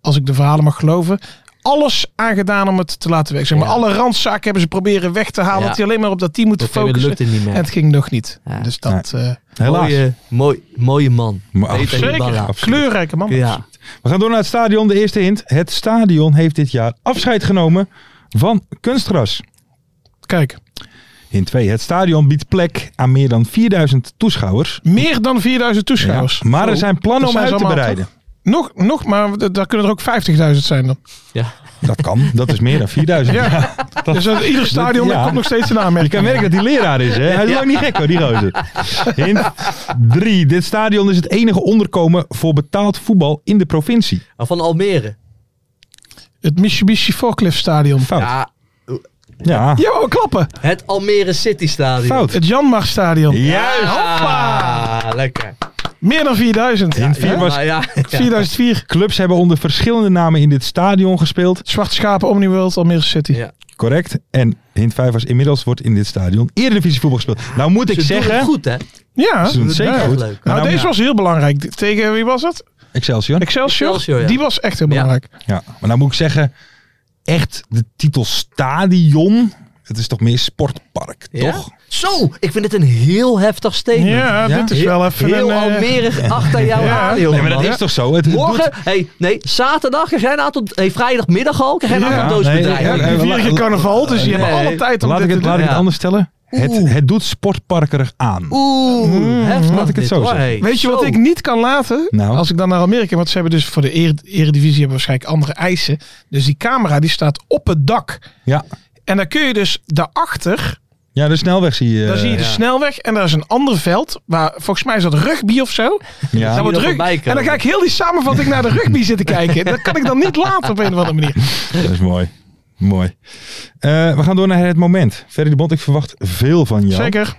[SPEAKER 6] als ik de verhalen mag geloven, alles aangedaan om het te laten weg. Zeg maar,
[SPEAKER 5] Ja.
[SPEAKER 6] alle randzaken hebben ze proberen weg te halen.
[SPEAKER 5] Ja.
[SPEAKER 6] Dat hij alleen maar op dat team moet
[SPEAKER 5] Dat
[SPEAKER 6] focussen.
[SPEAKER 5] lukte niet meer.
[SPEAKER 6] En het ging nog niet.
[SPEAKER 5] Ja.
[SPEAKER 6] Dus dat. eh,
[SPEAKER 4] Helaas.
[SPEAKER 5] Mooie, mooi, mooie man.
[SPEAKER 4] Maar
[SPEAKER 5] Peter
[SPEAKER 4] absoluut.
[SPEAKER 6] zeker.
[SPEAKER 5] Hiballa.
[SPEAKER 4] Absoluut.
[SPEAKER 6] Kleurrijke man.
[SPEAKER 5] Ja.
[SPEAKER 4] We gaan door naar het stadion. De eerste hint. Het stadion heeft dit jaar afscheid genomen van kunstgras.
[SPEAKER 6] Kijk,
[SPEAKER 4] Hint 2. Het stadion biedt plek aan meer dan 4000 toeschouwers.
[SPEAKER 6] meer dan 4000 toeschouwers.
[SPEAKER 4] Ja, maar er
[SPEAKER 6] Zo.
[SPEAKER 4] zijn plannen
[SPEAKER 6] Oh, Dat
[SPEAKER 4] om
[SPEAKER 6] zijn
[SPEAKER 4] uit
[SPEAKER 6] ze
[SPEAKER 4] te
[SPEAKER 6] allemaal,
[SPEAKER 4] breiden.
[SPEAKER 6] Nog, nog, maar d- daar kunnen er ook 50.000 zijn dan.
[SPEAKER 4] Dat kan. Dat is
[SPEAKER 6] *laughs*
[SPEAKER 4] meer dan 4000.
[SPEAKER 6] Ja.
[SPEAKER 4] *laughs* dat-
[SPEAKER 6] dus uit ieder stadion
[SPEAKER 4] ja.
[SPEAKER 6] daar komt nog
[SPEAKER 4] *laughs*
[SPEAKER 6] steeds een
[SPEAKER 4] Je
[SPEAKER 6] aanmerking.
[SPEAKER 4] kan merken dat hij leraar is, hè? Hij is
[SPEAKER 5] Ja.
[SPEAKER 4] ook niet gek, hoor, die roze. Hint 3. Dit stadion is het enige onderkomen voor betaald voetbal in de provincie.
[SPEAKER 5] Maar Ah, Van Almere.
[SPEAKER 6] Het Mitsubishi Forklift Stadion.
[SPEAKER 4] Fout.
[SPEAKER 5] Ja,
[SPEAKER 4] Ja.
[SPEAKER 6] Ja, maar klappen.
[SPEAKER 5] het Almere City Stadion.
[SPEAKER 4] Fout.
[SPEAKER 6] Het Janmar Stadion.
[SPEAKER 4] Juist.
[SPEAKER 5] Ah, lekker.
[SPEAKER 6] Meer dan 4000.
[SPEAKER 4] Hint 4
[SPEAKER 6] Hè?
[SPEAKER 4] was...
[SPEAKER 5] Maar ja, ja.
[SPEAKER 6] 4004.
[SPEAKER 4] Clubs hebben onder verschillende namen in dit stadion gespeeld.
[SPEAKER 6] Zwarte Schapen, Omniworld, Almere City.
[SPEAKER 5] Ja.
[SPEAKER 4] Correct. En hint 5 was inmiddels wordt in dit stadion Eredivisie voetbal gespeeld. Nou moet ik
[SPEAKER 5] Ze doen het
[SPEAKER 4] zeggen...
[SPEAKER 5] goed, hè?
[SPEAKER 6] Ja.
[SPEAKER 4] Ze doen het zeker
[SPEAKER 5] Ja,
[SPEAKER 4] goed.
[SPEAKER 5] leuk.
[SPEAKER 4] Maar
[SPEAKER 6] Nou,
[SPEAKER 4] moet-
[SPEAKER 6] deze was heel belangrijk. D- Tegen wie was dat?
[SPEAKER 4] Excelsior.
[SPEAKER 6] Excelsior?
[SPEAKER 5] Excelsior, ja.
[SPEAKER 6] Die was echt heel
[SPEAKER 5] Ja.
[SPEAKER 6] belangrijk.
[SPEAKER 4] Ja, maar nou moet ik zeggen... Echt de titel stadion... Het is toch meer sportpark,
[SPEAKER 5] Ja?
[SPEAKER 4] toch?
[SPEAKER 5] Zo, ik vind het een heel heftig
[SPEAKER 6] Ja,
[SPEAKER 5] statement.
[SPEAKER 4] Ja.
[SPEAKER 6] dit is wel even
[SPEAKER 5] Heel
[SPEAKER 6] een... eh,
[SPEAKER 5] Almere achter jou
[SPEAKER 6] Ja.
[SPEAKER 5] aan, joh.
[SPEAKER 4] Nee, maar dat
[SPEAKER 5] man.
[SPEAKER 4] is toch zo? Het, het
[SPEAKER 5] Morgen,
[SPEAKER 4] doet-
[SPEAKER 5] hey, nee, zaterdag krijg jij een aantal, hey, vrijdagmiddag al, krijg jij een
[SPEAKER 4] Ja,
[SPEAKER 5] aantal
[SPEAKER 4] nee,
[SPEAKER 5] doosbedrijven.
[SPEAKER 4] ja, eh,
[SPEAKER 6] die vieren geen carnaval, dus die
[SPEAKER 5] Nee.
[SPEAKER 6] hebben alle tijd om
[SPEAKER 4] laat ik
[SPEAKER 6] dit
[SPEAKER 4] het,
[SPEAKER 6] te
[SPEAKER 4] laat
[SPEAKER 6] doen.
[SPEAKER 4] ik het
[SPEAKER 5] Ja.
[SPEAKER 4] anders stellen. Het,
[SPEAKER 5] Oeh.
[SPEAKER 4] het doet sportparkerig aan.
[SPEAKER 5] Oeh, heftig
[SPEAKER 4] Mm, laat ik het
[SPEAKER 5] dit,
[SPEAKER 4] zo
[SPEAKER 5] hoor,
[SPEAKER 4] zeggen.
[SPEAKER 5] hey.
[SPEAKER 6] Weet je wat
[SPEAKER 5] Zo.
[SPEAKER 6] ik niet kan laten?
[SPEAKER 4] Nou.
[SPEAKER 6] Als ik dan naar Amerika... Want ze hebben dus voor de ere- eredivisie hebben waarschijnlijk andere eisen. Dus die camera die staat op het dak.
[SPEAKER 4] Ja.
[SPEAKER 6] En dan kun je dus daarachter...
[SPEAKER 4] ja, de snelweg zie je. eh,
[SPEAKER 6] Dan zie je de
[SPEAKER 5] ja.
[SPEAKER 6] snelweg en daar is een ander veld. Waar volgens mij is dat rugby of zo.
[SPEAKER 4] ja.
[SPEAKER 6] Dan wordt
[SPEAKER 5] er
[SPEAKER 6] rug-
[SPEAKER 5] voorbij
[SPEAKER 6] En
[SPEAKER 5] komen.
[SPEAKER 6] dan
[SPEAKER 4] eh,
[SPEAKER 6] ga ik heel die samenvatting
[SPEAKER 4] *laughs*
[SPEAKER 6] naar de rugby zitten kijken. Dat kan ik dan niet laten op een of andere manier.
[SPEAKER 4] Dat is mooi. Mooi. Eh, we gaan door naar het moment. Ferry de Bond, ik verwacht veel van jou.
[SPEAKER 6] Zeker.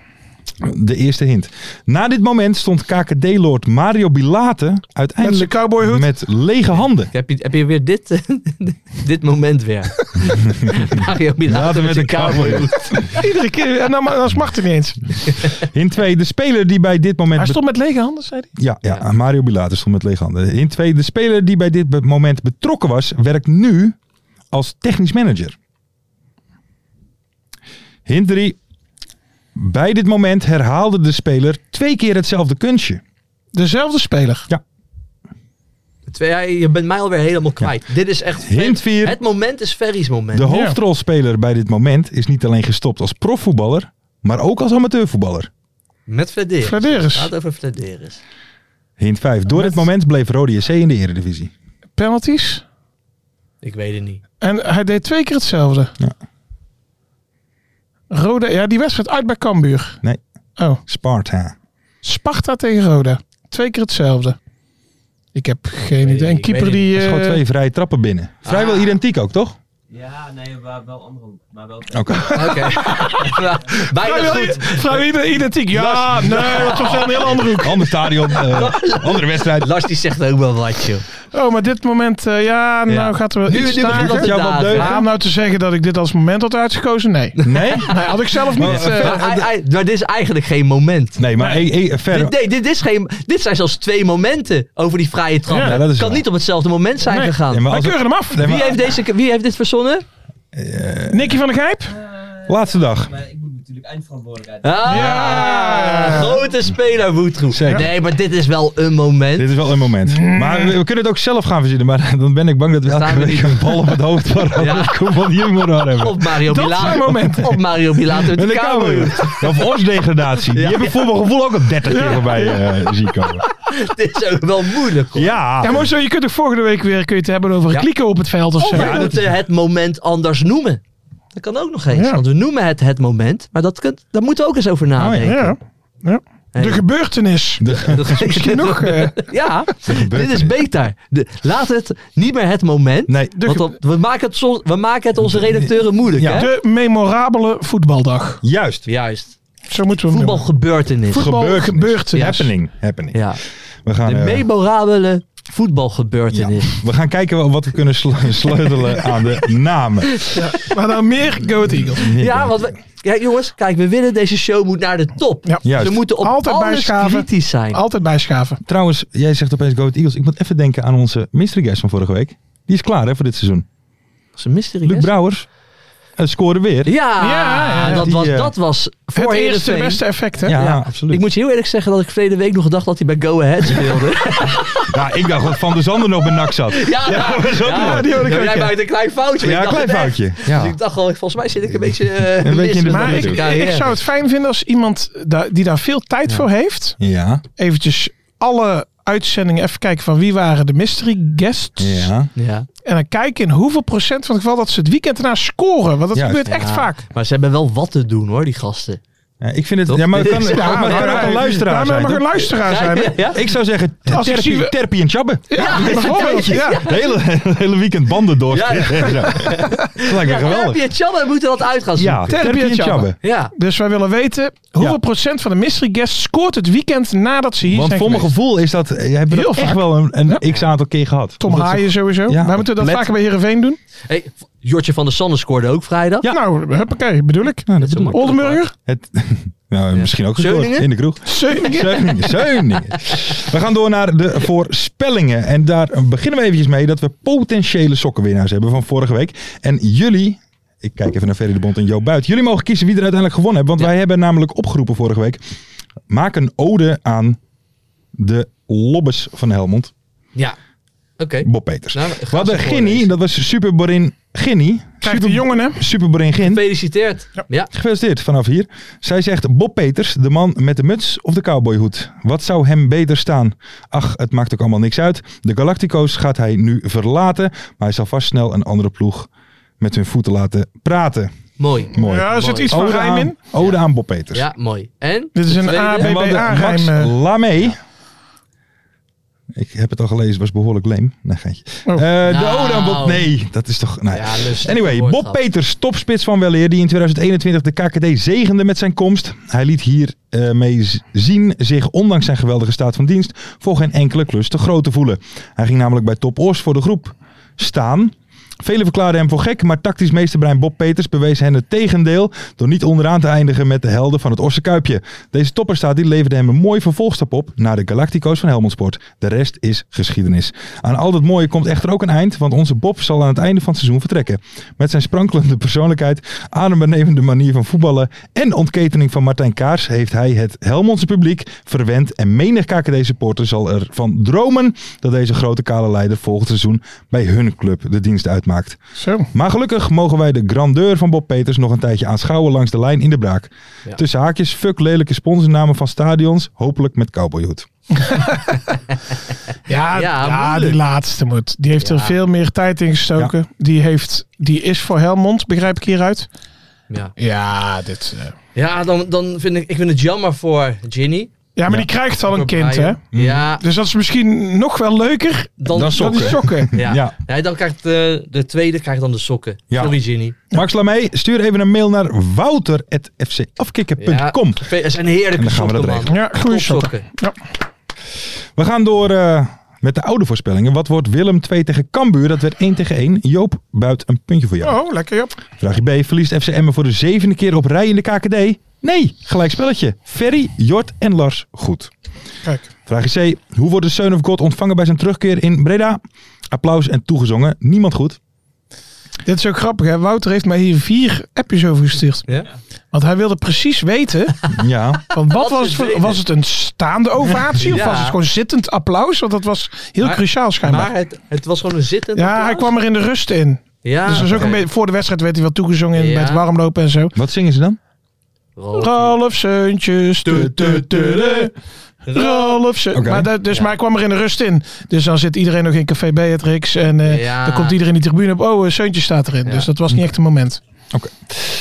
[SPEAKER 4] De eerste hint. Na dit moment stond KKD-lord Mario Bilate
[SPEAKER 6] Met zijn
[SPEAKER 4] uiteindelijk
[SPEAKER 6] cowboyhoed.
[SPEAKER 4] met lege handen.
[SPEAKER 5] Heb je, heb je weer dit, *laughs* eh, dit moment
[SPEAKER 4] *laughs*
[SPEAKER 5] weer? Mario Bilater met een cowboy.
[SPEAKER 6] Iedere keer. En dan, dan smacht hij niet eens.
[SPEAKER 4] Hint 2. De speler die bij dit moment...
[SPEAKER 6] Hij
[SPEAKER 4] be-
[SPEAKER 6] stond met lege handen, zei hij.
[SPEAKER 4] Ja, ja, Mario Bilate stond met lege handen. Hint 2. De speler die bij dit be- moment betrokken was, werkt nu als technisch manager. Hint 3. Bij dit moment herhaalde de speler twee keer hetzelfde kunstje.
[SPEAKER 6] Dezelfde speler.
[SPEAKER 5] Twee, ja, je bent mij alweer helemaal kwijt. Dit is echt...
[SPEAKER 4] Hint vier.
[SPEAKER 5] Het moment is Ferry's moment.
[SPEAKER 4] De hoofdrolspeler bij dit moment is niet alleen gestopt als profvoetballer, maar ook als amateurvoetballer.
[SPEAKER 5] Met Flederis.
[SPEAKER 6] Flederis.
[SPEAKER 5] Het gaat over Flederis.
[SPEAKER 4] Hint 5. Door dit moment bleef Rode JC in de Eredivisie.
[SPEAKER 6] Penalties.
[SPEAKER 5] Ik weet het
[SPEAKER 4] *laughs*
[SPEAKER 5] niet.
[SPEAKER 6] En hij deed twee keer hetzelfde.
[SPEAKER 4] Ja.
[SPEAKER 6] Roda. Ja, die wedstrijd uit bij Cambuur.
[SPEAKER 4] Nee.
[SPEAKER 6] Oh.
[SPEAKER 4] Sparta.
[SPEAKER 6] Sparta tegen Roda. Twee keer hetzelfde. Ik heb geen idee.
[SPEAKER 5] weet het
[SPEAKER 6] Een
[SPEAKER 5] niet, ik
[SPEAKER 6] keeper
[SPEAKER 5] weet
[SPEAKER 6] die...
[SPEAKER 4] Er schoot
[SPEAKER 6] eh,
[SPEAKER 4] twee vrije trappen binnen. Vrijwel identiek ook, toch?
[SPEAKER 7] Ja, nee, maar wel andere. Maar wel
[SPEAKER 4] Oké.
[SPEAKER 5] Oké. *laughs* Bijna
[SPEAKER 6] Vrijwel-
[SPEAKER 5] goed.
[SPEAKER 6] vrijwel identiek. Ja, nou, nee, dat was wel een heel andere hoek.
[SPEAKER 4] Ander stadion, eh, andere wedstrijd.
[SPEAKER 5] Lars die zegt ook wel wat, joh.
[SPEAKER 6] Oh, maar dit moment, eh, ja, nou
[SPEAKER 4] Ja.
[SPEAKER 6] gaat er wel
[SPEAKER 5] Nu-
[SPEAKER 6] iets
[SPEAKER 5] nu begint
[SPEAKER 6] stager.
[SPEAKER 5] dat
[SPEAKER 4] jou wat
[SPEAKER 5] dagen.
[SPEAKER 4] deugen?
[SPEAKER 6] Maar om nou te zeggen dat ik dit als moment had uitgekozen, nee.
[SPEAKER 4] Nee?
[SPEAKER 6] Nee, had ik zelf niet.
[SPEAKER 4] Maar,
[SPEAKER 6] eh,
[SPEAKER 5] Maar, hij- hij- maar dit is eigenlijk geen moment.
[SPEAKER 4] Nee, maar eh, eh,
[SPEAKER 5] Dit,
[SPEAKER 4] verder.
[SPEAKER 5] nee, dit, is geen, dit zijn zelfs twee momenten over die vrije trap.
[SPEAKER 4] Ja,
[SPEAKER 5] Het
[SPEAKER 4] dat is
[SPEAKER 5] kan
[SPEAKER 4] waar.
[SPEAKER 5] niet op hetzelfde moment zijn
[SPEAKER 6] Nee.
[SPEAKER 5] gegaan.
[SPEAKER 4] Nee, maar
[SPEAKER 6] wij
[SPEAKER 4] als-
[SPEAKER 6] keuren hem af.
[SPEAKER 4] Nee,
[SPEAKER 5] wie,
[SPEAKER 4] maar-
[SPEAKER 5] heeft deze, wie heeft dit verzonnen?
[SPEAKER 6] Nicky van der Gijp?
[SPEAKER 4] Laatste dag.
[SPEAKER 7] Maar ik moet natuurlijk natuurlijk eindverantwoordelijkheid.
[SPEAKER 5] Ah,
[SPEAKER 6] Ja.
[SPEAKER 5] grote speler Woetroe.
[SPEAKER 4] Zeker.
[SPEAKER 5] Nee, maar dit is wel een moment.
[SPEAKER 4] Dit is wel een moment. Maar we kunnen het ook zelf gaan verzinnen. Maar *laughs* dan ben ik bang dat we elke
[SPEAKER 5] Staan we
[SPEAKER 4] week
[SPEAKER 5] niet.
[SPEAKER 4] een bal op het hoofd van
[SPEAKER 5] Ja.
[SPEAKER 4] Ronald Koeman hier moet aan hebben.
[SPEAKER 5] Op Mario
[SPEAKER 6] Dat
[SPEAKER 5] Bilater.
[SPEAKER 6] zijn momenten.
[SPEAKER 5] *laughs* Op Mario Bilater met
[SPEAKER 4] Met
[SPEAKER 5] de
[SPEAKER 4] een
[SPEAKER 5] kamer.
[SPEAKER 4] kamer. Of osdegradatie. Die
[SPEAKER 5] Ja.
[SPEAKER 4] hebben voor mijn gevoel ook al 30 keer voorbij eh zien komen.
[SPEAKER 5] *laughs* Dit is ook wel moeilijk. hoor.
[SPEAKER 4] Ja.
[SPEAKER 6] Ja, maar zo, je kunt toch volgende week weer kun je het hebben over
[SPEAKER 5] Ja. Oh,
[SPEAKER 6] klikken op het veld of
[SPEAKER 5] Of
[SPEAKER 6] zo.
[SPEAKER 5] we moeten het moment anders noemen. Dat kan ook nog eens.
[SPEAKER 6] Ja.
[SPEAKER 5] Want we noemen het het moment. Maar dat kunt, daar moeten we ook eens over nadenken.
[SPEAKER 6] Ja. Ja.
[SPEAKER 5] Hey.
[SPEAKER 6] De gebeurtenis.
[SPEAKER 5] Dat is *laughs*
[SPEAKER 4] *laughs*
[SPEAKER 5] misschien
[SPEAKER 6] Nog, eh,
[SPEAKER 5] Ja, dit is
[SPEAKER 4] gebeurtenis.
[SPEAKER 5] beter. De- laat het niet meer het moment.
[SPEAKER 4] Nee.
[SPEAKER 6] de,
[SPEAKER 5] want
[SPEAKER 6] ge-
[SPEAKER 5] dan- we, maken het soms, we maken het onze redacteuren moeilijk.
[SPEAKER 4] Ja.
[SPEAKER 5] Hè?
[SPEAKER 6] de memorabele voetbaldag.
[SPEAKER 4] Juist.
[SPEAKER 5] Juist.
[SPEAKER 6] Zo moeten we hem noemen.
[SPEAKER 5] Voetbalgebeurtenis.
[SPEAKER 6] Voetbal
[SPEAKER 4] Gebeurtenis.
[SPEAKER 6] gebeurtenis.
[SPEAKER 4] Happening. Happening.
[SPEAKER 5] Ja.
[SPEAKER 4] We gaan,
[SPEAKER 5] De
[SPEAKER 4] eh,
[SPEAKER 5] memorabele
[SPEAKER 4] ja.
[SPEAKER 5] voetbalgebeurtenis.
[SPEAKER 4] we gaan kijken wat we kunnen *laughs* slu- sleutelen aan de namen.
[SPEAKER 6] Maar
[SPEAKER 4] *laughs*
[SPEAKER 6] dan meer Go Ahead Eagles.
[SPEAKER 5] Ja, want we, kijk jongens, kijk, we willen deze show moet naar de top.
[SPEAKER 6] Ja.
[SPEAKER 4] Juist.
[SPEAKER 5] Ze moeten op
[SPEAKER 6] Altijd
[SPEAKER 5] alles
[SPEAKER 6] bijschaven.
[SPEAKER 5] kritisch zijn.
[SPEAKER 6] Altijd bijschaven.
[SPEAKER 4] Trouwens, jij zegt opeens Go Ahead Eagles. Ik moet even denken aan onze mystery guest van vorige week. Die is klaar hè, voor dit seizoen.
[SPEAKER 5] Dat is een mystery.
[SPEAKER 4] Luc
[SPEAKER 5] guest.
[SPEAKER 4] Brouwers eh, scoorde weer.
[SPEAKER 5] Ja,
[SPEAKER 6] Ja, ja,
[SPEAKER 5] dat,
[SPEAKER 4] die,
[SPEAKER 5] was,
[SPEAKER 4] eh,
[SPEAKER 5] dat was
[SPEAKER 6] Het
[SPEAKER 5] voor
[SPEAKER 6] eerste
[SPEAKER 5] Heerenveen.
[SPEAKER 6] beste effect, hè?
[SPEAKER 4] Ja,
[SPEAKER 5] Ja.
[SPEAKER 4] absoluut.
[SPEAKER 5] Ik moet je heel eerlijk zeggen dat ik verleden week nog dacht dat hij bij Go Ahead speelde.
[SPEAKER 4] Ja, ik dacht dat Van der Zanden nog bij NAC zat.
[SPEAKER 5] ja, ja,
[SPEAKER 4] dat is ook mooi. Die hoorde ik
[SPEAKER 5] Ja,
[SPEAKER 4] ook,
[SPEAKER 5] jij
[SPEAKER 4] ja.
[SPEAKER 5] maakt een klein foutje. maar
[SPEAKER 4] Ja,
[SPEAKER 5] ik dacht
[SPEAKER 4] klein
[SPEAKER 5] het echt.
[SPEAKER 4] foutje.
[SPEAKER 5] Dus
[SPEAKER 4] Ja.
[SPEAKER 5] ik dacht gewoon, volgens mij zit ik een beetje... eh
[SPEAKER 4] beetje
[SPEAKER 5] mis
[SPEAKER 4] in de
[SPEAKER 5] met
[SPEAKER 6] Maar
[SPEAKER 4] Ja,
[SPEAKER 5] mijn
[SPEAKER 6] ik, ik
[SPEAKER 5] carrière.
[SPEAKER 6] zou het fijn vinden als iemand da- die daar veel tijd voor heeft,
[SPEAKER 4] Ja,
[SPEAKER 6] eventjes alle uitzendingen even kijken van wie waren de mystery guests.
[SPEAKER 4] ja.
[SPEAKER 5] Ja.
[SPEAKER 6] En dan kijken in hoeveel procent van het geval dat ze het weekend daarna scoren. Want dat
[SPEAKER 4] Juist.
[SPEAKER 6] gebeurt echt
[SPEAKER 5] Ja.
[SPEAKER 6] vaak.
[SPEAKER 5] Maar ze hebben wel wat te doen hoor, die gasten.
[SPEAKER 4] Ja, ik vind het...
[SPEAKER 5] Toch?
[SPEAKER 4] Ja, maar het kan,
[SPEAKER 5] Ja,
[SPEAKER 4] maar het kan ook een
[SPEAKER 6] Ja,
[SPEAKER 4] luisteraar
[SPEAKER 6] maar
[SPEAKER 4] zijn.
[SPEAKER 6] mag een
[SPEAKER 4] toch?
[SPEAKER 6] luisteraar zijn. hè?
[SPEAKER 5] Ja?
[SPEAKER 4] Ik zou zeggen,
[SPEAKER 6] Als ik
[SPEAKER 4] terpie,
[SPEAKER 6] zie-
[SPEAKER 4] terpie en Tjabbe.
[SPEAKER 6] Ja, bijvoorbeeld. Ja.
[SPEAKER 4] Het hele, het hele weekend banden door.
[SPEAKER 5] Ja,
[SPEAKER 4] Ja,
[SPEAKER 5] ja.
[SPEAKER 4] Dat lijkt me
[SPEAKER 5] Ja, Herbie
[SPEAKER 4] geweldig.
[SPEAKER 5] en Tjabbe moeten dat uit gaan
[SPEAKER 4] Ja,
[SPEAKER 5] zoeken.
[SPEAKER 4] terpie en Tjabbe.
[SPEAKER 5] Ja.
[SPEAKER 6] Dus wij willen weten hoeveel
[SPEAKER 4] Ja.
[SPEAKER 6] procent van de mystery guests scoort het weekend nadat ze hier
[SPEAKER 4] Want
[SPEAKER 6] zijn
[SPEAKER 4] voor mijn
[SPEAKER 6] geweest.
[SPEAKER 4] gevoel is dat... eh, Hebben we
[SPEAKER 6] Heel
[SPEAKER 4] dat echt
[SPEAKER 6] vaak.
[SPEAKER 4] wel een, een x-aantal keer gehad.
[SPEAKER 6] Tom
[SPEAKER 4] Omdat ze-
[SPEAKER 6] Haaien sowieso.
[SPEAKER 4] Ja.
[SPEAKER 6] Maar moeten we dat
[SPEAKER 4] Let-
[SPEAKER 6] vaker bij Heerenveen doen?
[SPEAKER 5] Hey, Jortje van der Sanne scoorde ook vrijdag.
[SPEAKER 4] Ja.
[SPEAKER 6] Nou, huppakee, bedoel ik.
[SPEAKER 4] Nou, dat
[SPEAKER 5] is
[SPEAKER 4] bedoel ik.
[SPEAKER 5] makkelijk,
[SPEAKER 6] Oldenburger?
[SPEAKER 4] Het, *laughs* nou, misschien ook gescoord
[SPEAKER 5] Zeuningen?
[SPEAKER 4] in de kroeg.
[SPEAKER 6] Zeuningen? *laughs*
[SPEAKER 4] Zeuningen, Zeuningen. We gaan door naar de voorspellingen. En daar beginnen we eventjes mee dat we potentiële sokkenwinnaars hebben van vorige week. En jullie, ik kijk even naar Ferry de Bond en Jo Buit. Jullie mogen kiezen wie er uiteindelijk gewonnen heeft. Want wij hebben namelijk opgeroepen vorige week. Maak een ode aan de lobbes van Helmond.
[SPEAKER 5] Ja. Oké.
[SPEAKER 4] Bob Peters.
[SPEAKER 5] Nou,
[SPEAKER 4] we
[SPEAKER 5] ga
[SPEAKER 4] hadden
[SPEAKER 5] ze
[SPEAKER 4] Ginny,
[SPEAKER 5] voorlezen.
[SPEAKER 4] dat was Super Borin Ginny. Super-
[SPEAKER 6] Krijgt de jongen, hè?
[SPEAKER 4] Super Borin Gin.
[SPEAKER 5] Gefeliciteerd. Ja.
[SPEAKER 4] Gefeliciteerd vanaf hier. Zij zegt Bob Peters, de man met de muts of de cowboyhoed. Wat zou hem beter staan? Ach, het maakt ook allemaal niks uit. De Galactico's gaat hij nu verlaten, maar hij zal vast snel een andere ploeg met hun voeten laten praten.
[SPEAKER 5] Mooi.
[SPEAKER 4] Mooi.
[SPEAKER 6] Oh, Ja, er zit
[SPEAKER 5] Mooi.
[SPEAKER 6] iets van rijm
[SPEAKER 4] aan,
[SPEAKER 6] in.
[SPEAKER 4] ode aan Bob Peters.
[SPEAKER 5] Ja, mooi. En?
[SPEAKER 6] Dit is
[SPEAKER 5] De
[SPEAKER 6] een
[SPEAKER 5] tweede?
[SPEAKER 6] AB.
[SPEAKER 4] En we hadden
[SPEAKER 6] BBA
[SPEAKER 4] Max
[SPEAKER 6] rijm, eh.
[SPEAKER 4] Lamé. Ik heb het al gelezen, was behoorlijk leem. Nee, geintje.
[SPEAKER 6] Oh.
[SPEAKER 4] Eh,
[SPEAKER 5] Nou.
[SPEAKER 4] De ode aan Bob... Nee, dat is toch... Nou, ja.
[SPEAKER 5] Ja, lustig
[SPEAKER 4] Anyway,
[SPEAKER 5] woord
[SPEAKER 4] Bob
[SPEAKER 5] gehad.
[SPEAKER 4] Peters, topspits van Weleer, die in 2021 de KKD zegende met zijn komst. Hij liet hiermee mee z- zien zich, ondanks zijn geweldige staat van dienst, voor geen enkele klus te groot te voelen. Hij ging namelijk bij Top Os voor de groep staan. Velen verklaarden hem voor gek, maar tactisch meesterbrein Bob Peters bewees hen het tegendeel door niet onderaan te eindigen met de helden van het Orse Kuipje. Deze topperstaat die leverde hem een mooi vervolgstap op naar de Galactico's van Helmond Sport. De rest is geschiedenis. Aan al dat mooie komt echter ook een eind, want onze Bob zal aan het einde van het seizoen vertrekken. Met zijn sprankelende persoonlijkheid, adembenemende manier van voetballen en ontketening van Martijn Kaars heeft hij het Helmondse publiek verwend en menig KKD-supporter zal ervan dromen dat deze grote kale leider volgend seizoen bij hun club de dienst uitmaakt.
[SPEAKER 6] Zo.
[SPEAKER 4] Maar gelukkig mogen wij de grandeur van Bob Peters nog een tijdje aanschouwen langs de lijn in de braak. Tussen haakjes, fuck lelijke sponsornamen van stadions, hopelijk met cowboyhoed.
[SPEAKER 6] Ja,
[SPEAKER 5] Ja,
[SPEAKER 6] ja,
[SPEAKER 5] moeilijk.
[SPEAKER 6] die laatste moet. Die heeft er
[SPEAKER 5] Ja.
[SPEAKER 6] veel meer tijd in gestoken. Die, heeft, die is voor Helmond, begrijp ik hieruit.
[SPEAKER 5] Ja,
[SPEAKER 6] Ja, dit... eh.
[SPEAKER 5] ja dan, dan vind ik, ik vind het jammer voor Ginny.
[SPEAKER 6] Ja, maar die krijgt al een
[SPEAKER 5] Voor
[SPEAKER 6] kind, hè?
[SPEAKER 5] Brian. Ja,
[SPEAKER 6] Dus dat is misschien nog wel leuker
[SPEAKER 5] dan,
[SPEAKER 4] Dan
[SPEAKER 6] dan
[SPEAKER 4] sokken.
[SPEAKER 6] die sokken.
[SPEAKER 5] Ja.
[SPEAKER 4] Ja.
[SPEAKER 5] Nee, dan krijgt eh, de tweede krijgt dan de sokken.
[SPEAKER 4] Ja.
[SPEAKER 5] Sorry Ginny.
[SPEAKER 4] Max Lamee, stuur even een mail naar wouter.fcafkikken.com.
[SPEAKER 5] Ve- Het zijn heerlijke
[SPEAKER 4] En dan gaan we
[SPEAKER 5] sokken,
[SPEAKER 4] dat
[SPEAKER 5] man.
[SPEAKER 4] regelen.
[SPEAKER 6] Ja, goede sokken.
[SPEAKER 5] Topsokken.
[SPEAKER 4] We gaan door eh, met de oude voorspellingen. Wat wordt Willem 2 tegen Cambuur? Dat werd 1 tegen 1. Joop, buit een puntje voor jou.
[SPEAKER 6] Oh, lekker, Job.
[SPEAKER 4] Vraagje B. Verliest FC Emmen voor de zevende keer op rij in de KKD? Nee, gelijk spelletje. Ferry, Jort en Lars. Goed.
[SPEAKER 6] Kijk.
[SPEAKER 4] Vraagje C. Hoe wordt de Son of God ontvangen bij zijn terugkeer in Breda? Applaus en toegezongen. Niemand goed.
[SPEAKER 6] Dit is ook grappig. Hè? Wouter heeft mij hier vier appjes over gestuurd.
[SPEAKER 5] Ja?
[SPEAKER 6] Want hij wilde precies weten,
[SPEAKER 4] Ja.
[SPEAKER 6] van
[SPEAKER 5] *laughs*
[SPEAKER 6] wat was
[SPEAKER 5] is
[SPEAKER 6] het? voor-
[SPEAKER 5] reden?
[SPEAKER 6] Was het een staande ovatie of
[SPEAKER 5] Ja.
[SPEAKER 6] was het gewoon zittend applaus? Want dat was heel
[SPEAKER 5] Maar-
[SPEAKER 6] cruciaal schijnbaar.
[SPEAKER 5] Maar het, het was gewoon een zittend
[SPEAKER 6] ja,
[SPEAKER 5] applaus.
[SPEAKER 6] hij kwam er in de rust in.
[SPEAKER 5] Ja,
[SPEAKER 6] dus dat is ook een
[SPEAKER 5] Ah, oké.
[SPEAKER 6] beetje, voor de wedstrijd werd hij wel toegezongen in-
[SPEAKER 5] Ja.
[SPEAKER 6] bij het warmlopen en zo.
[SPEAKER 4] Wat zingen ze dan?
[SPEAKER 5] Rolf.
[SPEAKER 6] Ralf Seuntjes. tu, tu, tu, tu. Ralf Seu-
[SPEAKER 4] Oké.
[SPEAKER 6] Maar, dat- dus,
[SPEAKER 5] Ja.
[SPEAKER 6] maar hij kwam er in de rust in. Dus dan zit iedereen nog in Café Beatrix. En eh,
[SPEAKER 5] Ja.
[SPEAKER 6] dan komt iedereen die tribune op. Oh, eh, Seuntjes staat erin.
[SPEAKER 5] Ja.
[SPEAKER 6] Dus dat was niet echt een moment.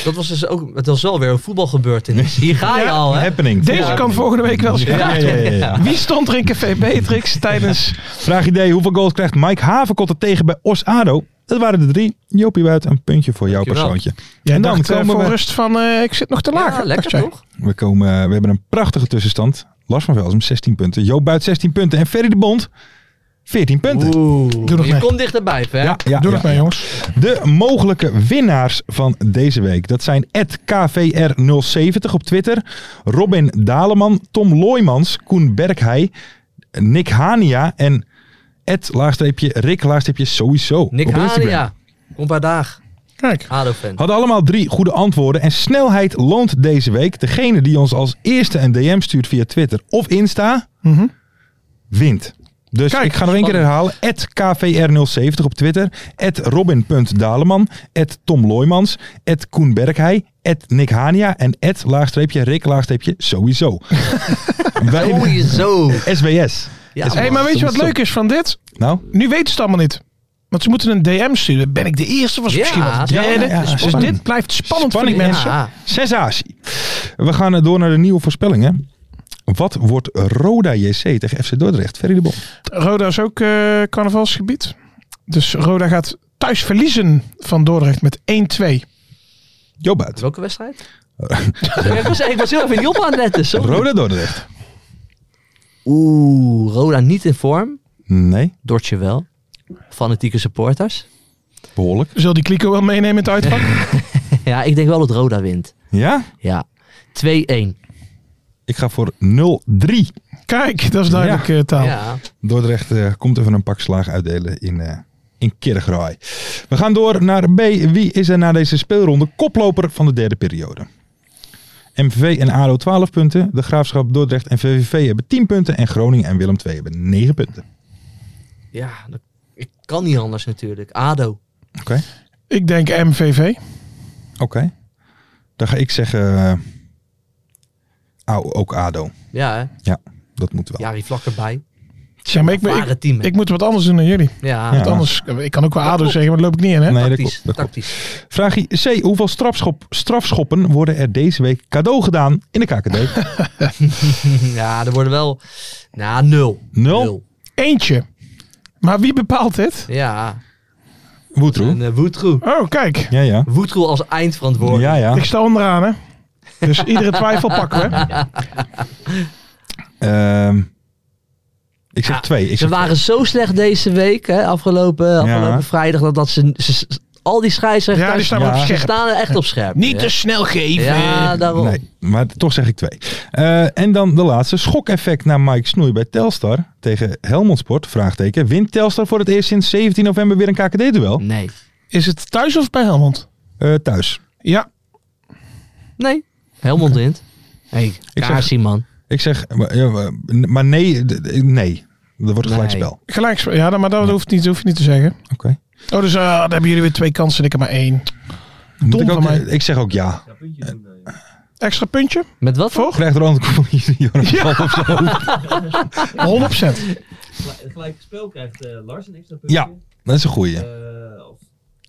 [SPEAKER 5] Dat was dus ook, het was wel weer een voetbalgebeurtenis. Hier ga je
[SPEAKER 6] Ja,
[SPEAKER 5] al, hè?
[SPEAKER 4] Happening.
[SPEAKER 6] Deze kan volgende week wel eens
[SPEAKER 4] Ja, ja,
[SPEAKER 6] gaan.
[SPEAKER 4] ja, ja, ja.
[SPEAKER 6] Wie stond er in Café Beatrix tijdens...
[SPEAKER 4] Vraag idee, hoeveel goals krijgt Mike Haverkot er tegen bij Os Ado? Dat waren de drie. Jopie Buit, een puntje voor jouw
[SPEAKER 5] Dankjewel.
[SPEAKER 4] persoontje.
[SPEAKER 6] Jij
[SPEAKER 4] en dan
[SPEAKER 6] dacht eh,
[SPEAKER 4] komen
[SPEAKER 6] voor
[SPEAKER 4] we,
[SPEAKER 6] rust van... eh, ik zit nog te laag.
[SPEAKER 5] Ja, lekker
[SPEAKER 6] dacht jij.
[SPEAKER 5] toch?
[SPEAKER 4] we, komen, eh, we hebben een prachtige tussenstand. Lars van Velsen 16 punten, Joop Buit 16 punten en Ferry de Bond 14 punten.
[SPEAKER 6] Doe nog
[SPEAKER 5] Je
[SPEAKER 6] mee.
[SPEAKER 5] komt dichterbij, hè?
[SPEAKER 4] Ja, ja,
[SPEAKER 6] Doe
[SPEAKER 4] ja.
[SPEAKER 6] nog mee, jongens.
[SPEAKER 4] De mogelijke winnaars van deze week. Dat zijn KVR070 op Twitter. Robin Daleman, Tom Looymans, Koen Berghei, Nick Hania en Ed laagstreepje Rick laagstreepje sowieso.
[SPEAKER 5] Nick
[SPEAKER 4] op Instagram.
[SPEAKER 5] Hania. Kom een paar dagen.
[SPEAKER 6] Kijk.
[SPEAKER 5] ADO-fan.
[SPEAKER 4] Hadden allemaal drie goede antwoorden. En snelheid loont deze week. Degene die ons als eerste een DM stuurt via Twitter of Insta,
[SPEAKER 6] Mhm.
[SPEAKER 4] wint. Dus
[SPEAKER 6] Kijk,
[SPEAKER 4] ik ga nog één keer herhalen. KVR070 op Twitter. Robin.daleman. Tom Looymans. Koen Berghei. Nick Hania. En laagstreepje Rick laagstreepje
[SPEAKER 6] *laughs*
[SPEAKER 4] sowieso. Wij,
[SPEAKER 5] Sowieso.
[SPEAKER 4] SBS.
[SPEAKER 5] Oh, Ja,
[SPEAKER 6] Hé, hey, maar weet je wat
[SPEAKER 4] Stop.
[SPEAKER 6] leuk is van dit?
[SPEAKER 4] Nou,
[SPEAKER 6] Nu weten ze het allemaal niet. Want ze moeten een DM sturen. Ben ik de eerste? Was ik
[SPEAKER 5] Ja,
[SPEAKER 6] misschien wel de
[SPEAKER 5] ja,
[SPEAKER 6] derde?
[SPEAKER 5] ja, ja,
[SPEAKER 6] dus
[SPEAKER 4] spannend.
[SPEAKER 6] dit blijft spannend voor die
[SPEAKER 4] Spanning,
[SPEAKER 6] mensen.
[SPEAKER 5] Ja.
[SPEAKER 4] sensatie. We gaan eh, door naar de nieuwe voorspellingen. Wat wordt Roda JC tegen FC Dordrecht? Ferry de Bom.
[SPEAKER 6] Roda is ook eh, carnavalsgebied. Dus Roda gaat thuis verliezen van Dordrecht met 1-2.
[SPEAKER 4] Joop Buit.
[SPEAKER 5] Welke wedstrijd?
[SPEAKER 6] *laughs*
[SPEAKER 5] Ja, ik, was, ik was heel even Job aan het letten. sorry.
[SPEAKER 4] Roda Dordrecht.
[SPEAKER 5] Oeh, Roda niet in vorm.
[SPEAKER 4] Nee,
[SPEAKER 5] Dortje wel. Fanatieke supporters. *laughs*
[SPEAKER 4] behoorlijk.
[SPEAKER 6] Zal die kliko wel meenemen in het uitvak?
[SPEAKER 5] Ja, ik denk wel dat Roda wint.
[SPEAKER 4] Ja?
[SPEAKER 5] Ja. 2-1.
[SPEAKER 4] Ik ga voor 0-3.
[SPEAKER 6] Kijk, dat is duidelijk eh, taal.
[SPEAKER 5] Ja.
[SPEAKER 4] Dordrecht eh, komt even een pak slaag uitdelen in, eh in Kirchraai. We gaan door naar B. Wie is er na deze speelronde koploper van de derde periode? MVV en ADO 12 punten. De Graafschap, Dordrecht en VVV hebben 10 punten. En Groningen en Willem II hebben 9 punten.
[SPEAKER 5] Ja, dat- ik kan niet anders natuurlijk. ADO.
[SPEAKER 4] Oké.
[SPEAKER 6] Ik denk MVV.
[SPEAKER 4] Oké. Dan ga ik zeggen... eh, au- ook ADO.
[SPEAKER 5] Ja, hè?
[SPEAKER 4] Dat moet wel.
[SPEAKER 5] Jari Vlak erbij.
[SPEAKER 6] Ja, maar ik, ben- ik,
[SPEAKER 5] Ware team. hè?
[SPEAKER 6] ik moet wat anders doen dan jullie.
[SPEAKER 5] ja,
[SPEAKER 4] Ja.
[SPEAKER 6] Want anders, eh, ik kan ook wel ADO zeggen, maar dat loop ik niet in. Hè?
[SPEAKER 4] Nee, dat
[SPEAKER 5] tactisch.
[SPEAKER 4] klopt, dat klopt.
[SPEAKER 5] tactisch. *laughs*
[SPEAKER 4] Vraagje C. Hoeveel strafschop, strafschoppen worden er deze week cadeau gedaan in de KKD?
[SPEAKER 5] Ja, er worden wel... Nou, nul.
[SPEAKER 4] Nul.
[SPEAKER 6] Eentje. Maar wie bepaalt dit?
[SPEAKER 5] Ja. En
[SPEAKER 4] Woetroe.
[SPEAKER 5] eh, Woetroe.
[SPEAKER 6] Oh, kijk.
[SPEAKER 4] Ja, ja.
[SPEAKER 5] Woetroe als eindverantwoordelijk.
[SPEAKER 4] Ja, ja.
[SPEAKER 6] Ik sta onderaan, hè. Dus iedere twijfel *laughs* pakken we.
[SPEAKER 4] Ehm, ik zeg
[SPEAKER 5] Ja,
[SPEAKER 4] twee. Ik
[SPEAKER 5] Ze
[SPEAKER 4] zeg
[SPEAKER 5] waren zo slecht deze week, hè, afgelopen, afgelopen vrijdag, dat, dat ze, ze- al die scheidsrechters
[SPEAKER 6] Ja, die staan
[SPEAKER 4] Ja.
[SPEAKER 6] wel op
[SPEAKER 5] ze
[SPEAKER 6] scherp.
[SPEAKER 5] staan er echt op scherp.
[SPEAKER 6] Niet
[SPEAKER 5] hè.
[SPEAKER 6] te snel geven.
[SPEAKER 5] Ja, daarom.
[SPEAKER 4] Nee, maar toch zeg ik twee. Eh, en dan de laatste. Schokeffect naar Mike Snoei bij Telstar tegen Helmond Sport. Vraagteken. Wint Telstar voor het eerst sinds 17 november weer een KKD-duel?
[SPEAKER 5] Nee.
[SPEAKER 6] Is het thuis of bij Helmond?
[SPEAKER 4] Eh, thuis.
[SPEAKER 6] Ja.
[SPEAKER 5] Nee. Helmond wint. Hé, hey,
[SPEAKER 4] zeg-
[SPEAKER 5] Kaarsie, man.
[SPEAKER 4] Ik zeg, maar, ja, maar- maar nee, d- d- nee. Dat wordt een
[SPEAKER 5] Nee.
[SPEAKER 4] gelijkspel.
[SPEAKER 6] Gelijk. Ja, dan- maar dat hoeft, niet, hoef je niet te zeggen.
[SPEAKER 4] Oké.
[SPEAKER 6] Oh, dus eh, dan hebben jullie weer twee kansen en ik heb maar één.
[SPEAKER 4] Moet Ik,
[SPEAKER 6] van
[SPEAKER 4] ook-
[SPEAKER 6] mij.
[SPEAKER 4] ik zeg ook ja.
[SPEAKER 6] Extra puntje?
[SPEAKER 5] Met wat?
[SPEAKER 6] Voor?
[SPEAKER 4] Krijgt *laughs* Ronald Koeman hier een bal of zo?
[SPEAKER 6] 100%.
[SPEAKER 7] Gelijk, gelijk spel krijgt eh, Lars een extra puntje.
[SPEAKER 4] Ja, dat is een goeie.
[SPEAKER 7] Eh, of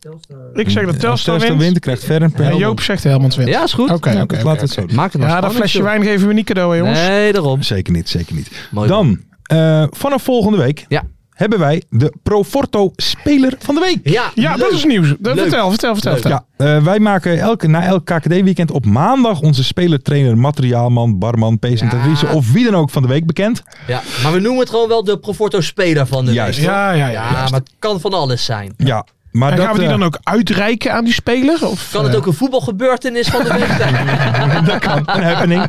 [SPEAKER 7] Telstar.
[SPEAKER 6] Ik zeg dat
[SPEAKER 4] Als
[SPEAKER 6] Telstar wint.
[SPEAKER 4] krijgt Ver een
[SPEAKER 6] En
[SPEAKER 4] penalty.
[SPEAKER 6] Joop dus zegt Helmond wint.
[SPEAKER 5] Ja, is goed.
[SPEAKER 6] Oké,
[SPEAKER 4] Nou,
[SPEAKER 6] oké,
[SPEAKER 4] dat
[SPEAKER 6] oké,
[SPEAKER 4] laten we het zo doen.
[SPEAKER 5] Maak het nog
[SPEAKER 6] Ja, dat
[SPEAKER 5] spannend,
[SPEAKER 6] flesje
[SPEAKER 5] joh.
[SPEAKER 6] wijn geven we niet cadeau, hè, jongens.
[SPEAKER 5] Nee, daarom.
[SPEAKER 4] Zeker niet, zeker niet.
[SPEAKER 5] Mooi man.
[SPEAKER 4] Dan, eh, vanaf volgende week
[SPEAKER 5] Ja.
[SPEAKER 4] hebben wij de Proforto Speler van de Week.
[SPEAKER 5] Ja,
[SPEAKER 6] Ja, dat is nieuws. Dat-
[SPEAKER 5] Leuk.
[SPEAKER 6] Vertel, vertel, vertel. vertel.
[SPEAKER 4] Ja, eh, wij maken elke, na elk KKD-weekend op maandag onze spelertrainer, materiaalman, barman, presentatrice
[SPEAKER 5] Ja.
[SPEAKER 4] of wie dan ook van de week bekend.
[SPEAKER 5] ja. Maar we noemen het gewoon wel de Proforto-speler van de
[SPEAKER 4] Juist.
[SPEAKER 5] week. hoor.
[SPEAKER 6] Ja, ja, ja.
[SPEAKER 5] Ja, maar het kan van alles zijn.
[SPEAKER 4] Ja, maar
[SPEAKER 6] En
[SPEAKER 4] dat,
[SPEAKER 6] gaan we die
[SPEAKER 4] eh,
[SPEAKER 6] dan ook uitreiken aan die speler? Of,
[SPEAKER 5] Kan het
[SPEAKER 6] eh,
[SPEAKER 5] ook een voetbalgebeurtenis van de week
[SPEAKER 4] *laughs*
[SPEAKER 5] zijn?
[SPEAKER 4] dat kan. Een happening.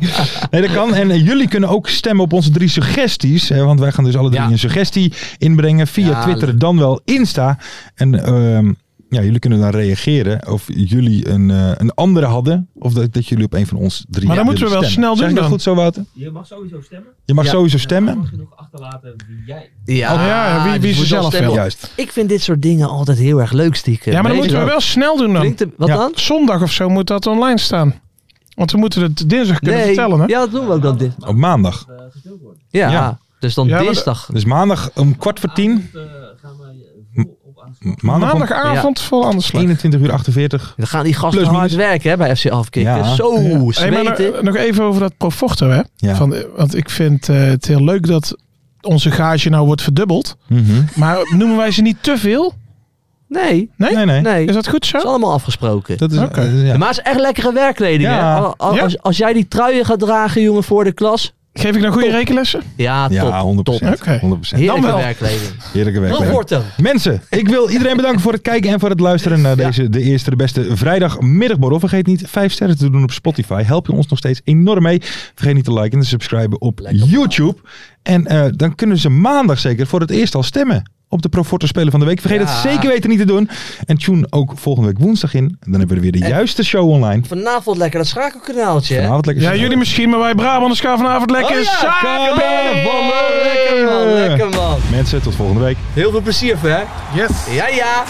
[SPEAKER 4] Nee, dat kan. En eh, jullie kunnen ook stemmen op onze drie suggesties. Hè, want wij gaan dus alle drie
[SPEAKER 5] Ja.
[SPEAKER 4] een suggestie inbrengen via
[SPEAKER 5] Ja,
[SPEAKER 4] Twitter,
[SPEAKER 5] leuk.
[SPEAKER 4] dan wel Insta. En ehm, ja, jullie kunnen dan reageren of jullie een, eh, een andere hadden. Of dat, dat jullie op een van ons drie
[SPEAKER 6] Maar dan
[SPEAKER 4] willen
[SPEAKER 6] moeten we wel
[SPEAKER 4] stemmen.
[SPEAKER 6] snel
[SPEAKER 4] Zeg
[SPEAKER 6] doen
[SPEAKER 4] ik dat
[SPEAKER 6] dan.
[SPEAKER 4] goed zo, Wouter?
[SPEAKER 7] Je mag sowieso stemmen.
[SPEAKER 4] Je mag
[SPEAKER 5] Ja.
[SPEAKER 4] sowieso
[SPEAKER 7] Dan
[SPEAKER 4] stemmen.
[SPEAKER 7] mag je nog achterlaten wie jij...
[SPEAKER 5] *laughs* Ja,
[SPEAKER 6] ja, wie- wie
[SPEAKER 5] dus
[SPEAKER 6] ze
[SPEAKER 5] moet
[SPEAKER 6] zelf
[SPEAKER 5] wel stemmen.
[SPEAKER 6] wil.
[SPEAKER 4] Juist.
[SPEAKER 5] Ik vind dit soort dingen altijd heel erg leuk,
[SPEAKER 6] Ja,
[SPEAKER 5] stiekem.
[SPEAKER 6] maar dan
[SPEAKER 5] Weet
[SPEAKER 6] moeten
[SPEAKER 5] je
[SPEAKER 6] we wel snel doen dan.
[SPEAKER 5] Klinkt het- wat
[SPEAKER 4] Ja.
[SPEAKER 5] dan?
[SPEAKER 6] Zondag of zo moet dat online staan. Want we moeten het dinsdag kunnen vertellen, hè?
[SPEAKER 5] ja, dat doen we ook dan. Dit.
[SPEAKER 4] Op maandag.
[SPEAKER 7] Eh,
[SPEAKER 5] Ja,
[SPEAKER 4] Ja.
[SPEAKER 5] dus dan
[SPEAKER 6] Ja, maar-
[SPEAKER 5] dinsdag.
[SPEAKER 4] Dus maandag om kwart voor tien.
[SPEAKER 7] eh,
[SPEAKER 4] Maandag om
[SPEAKER 6] Maandagavond vol aan de slag.
[SPEAKER 4] 21 uur 48.
[SPEAKER 5] Dan gaan die gasten
[SPEAKER 4] Plus,
[SPEAKER 5] hard
[SPEAKER 4] minus.
[SPEAKER 5] werken hè, bij FC Afkikken.
[SPEAKER 4] Ja.
[SPEAKER 5] Zo,
[SPEAKER 6] Hey, maar
[SPEAKER 5] smeten.
[SPEAKER 6] nog- nog even over dat Proforto, hè?
[SPEAKER 4] Ja.
[SPEAKER 6] Van, eh, want ik vind eh, het heel leuk dat onze gage nou wordt verdubbeld.
[SPEAKER 4] Mhm.
[SPEAKER 6] Maar *laughs* noemen wij ze niet te veel?
[SPEAKER 5] Nee,
[SPEAKER 6] Nee?
[SPEAKER 4] Nee, nee.
[SPEAKER 5] nee.
[SPEAKER 6] Is
[SPEAKER 5] Het
[SPEAKER 6] dat goed zo?
[SPEAKER 5] is allemaal afgesproken.
[SPEAKER 4] Dat is,
[SPEAKER 6] Oké.
[SPEAKER 4] eh, ja.
[SPEAKER 5] Maar het is echt lekkere werkkleding.
[SPEAKER 4] Ja.
[SPEAKER 5] Hè? Al- al-
[SPEAKER 6] Ja.
[SPEAKER 5] Als, als jij die truien gaat dragen, jongen, voor de klas.
[SPEAKER 6] Geef ik nou goede rekenlessen?
[SPEAKER 5] Ja, top.
[SPEAKER 4] Ja, 100%.
[SPEAKER 5] top.
[SPEAKER 6] Oké.
[SPEAKER 4] 100%.
[SPEAKER 5] Heerlijke
[SPEAKER 6] Dan wel.
[SPEAKER 5] werkkleding.
[SPEAKER 4] Heerlijke werk.
[SPEAKER 5] Dat wordt hem.
[SPEAKER 4] Mensen, ik wil iedereen bedanken voor het kijken en voor het luisteren naar deze de eerste de beste vrijdagmiddagborrel. Vergeet niet vijf sterren te doen op Spotify. Help je ons nog steeds enorm mee. Vergeet niet te liken en te subscriben op YouTube. En eh, dan kunnen ze maandag zeker voor het eerst al stemmen op de Proforte Spelen van de Week. Vergeet
[SPEAKER 5] Ja.
[SPEAKER 4] het zeker weten niet te doen. En tune ook volgende week woensdag in. En Dan hebben we weer de juiste show online.
[SPEAKER 5] Vanavond lekker dat schakelkanaaltje. hè?
[SPEAKER 4] Vanavond lekker
[SPEAKER 6] Ja,
[SPEAKER 4] zitten.
[SPEAKER 6] jullie misschien, maar wij Brabanders gaan vanavond lekker
[SPEAKER 5] Oh ja,
[SPEAKER 6] zaken
[SPEAKER 5] schakenballen. Lekker man, lekker man.
[SPEAKER 4] Mensen, tot volgende week.
[SPEAKER 5] Heel veel plezier, hè?
[SPEAKER 6] Yes.
[SPEAKER 5] Ja, ja.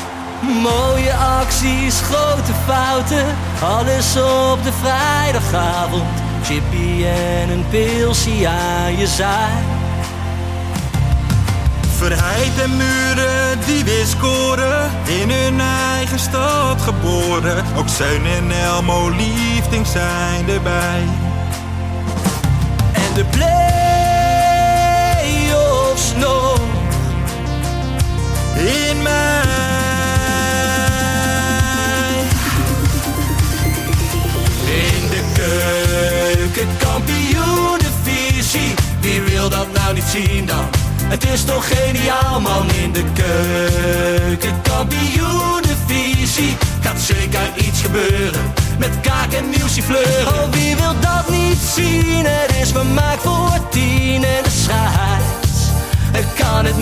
[SPEAKER 2] Mooie acties, grote fouten, alles op de vrijdagavond. Chippy en een pilsie aan je zaai.
[SPEAKER 3] Verheid en muren die weer scoren, in hun eigen stad geboren. Ook Zeun en Elmo Liefding zijn erbij.
[SPEAKER 2] En de play-offs nog.
[SPEAKER 3] In mij.
[SPEAKER 2] In de keuken, kampioenenvisie. Wie wil dat nou niet zien dan? Het is toch geniaal man in de keuken, kampioenenvisie. Gaat zeker iets gebeuren met kaak en muziek fleuren. Oh, wie wil dat niet zien? Het is vermaakt voor tien en de scheids. Ik kan het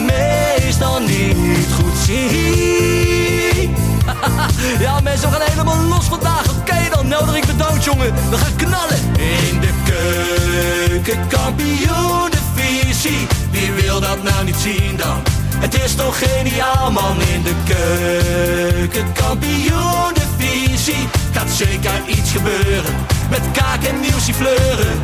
[SPEAKER 2] meestal niet goed zien. Ja, mensen, we gaan helemaal los vandaag. Oké, dan nodig ik de dood, jongen. We gaan knallen. In de keuken, kampioen, de visie. Wie wil dat nou niet zien dan? Het is toch geniaal, man. In de keuken, kampioen, de visie. Gaat zeker iets gebeuren. Met kaak en nieuwsie fleuren.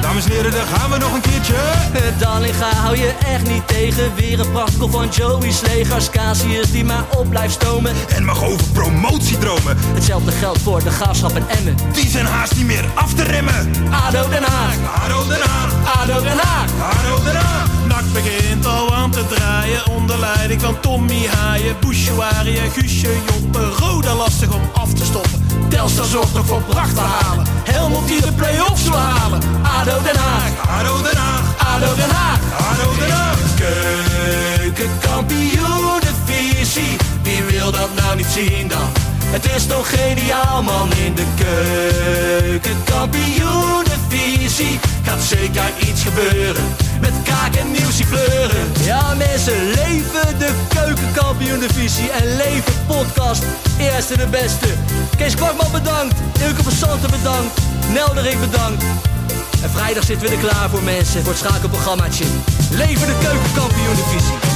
[SPEAKER 3] Dames en heren, daar gaan we nog een keertje.
[SPEAKER 2] Dallinga hou je echt niet tegen. Weer een prachtkel van Joey's legers. Casius die maar op blijft stomen.
[SPEAKER 3] En mag over promotiedromen,
[SPEAKER 2] Hetzelfde geldt voor de gaafschap en Emmen.
[SPEAKER 3] die zijn haast niet meer af te remmen.
[SPEAKER 2] ADO Den Haag,
[SPEAKER 3] Haro Den Haag,
[SPEAKER 2] ADO Den Haag.
[SPEAKER 3] Haro Den Haag.
[SPEAKER 10] Nak begint al aan te draaien onder leiding van Tommy Haaien, Bouchouari en Guusje Joppen. Roda lastig om af te stoppen.
[SPEAKER 2] Telstar zorgt nog voor pracht te halen. Helmond die de play-offs wil halen. ADO Den Haag,
[SPEAKER 3] Haro Den Haag,
[SPEAKER 2] ADO Den Haag.
[SPEAKER 3] Haro Den Haag.
[SPEAKER 2] Keukenkampioenenvisie. Wie wil dat nou niet zien dan? Het is toch geniaal man in de keukenkampioenenvisie. Gaat zeker iets gebeuren. Met kaak en nieuwsie kleuren. Ja mensen, leven de keukenkampioenenvisie. En leven podcast. Eerste de beste. Kees Kwakman bedankt. Ilke van Santen bedankt. Nelderik bedankt. En vrijdag zitten we er klaar voor mensen. Voor het schakelprogrammaatje. Leven de keukenkampioenenvisie.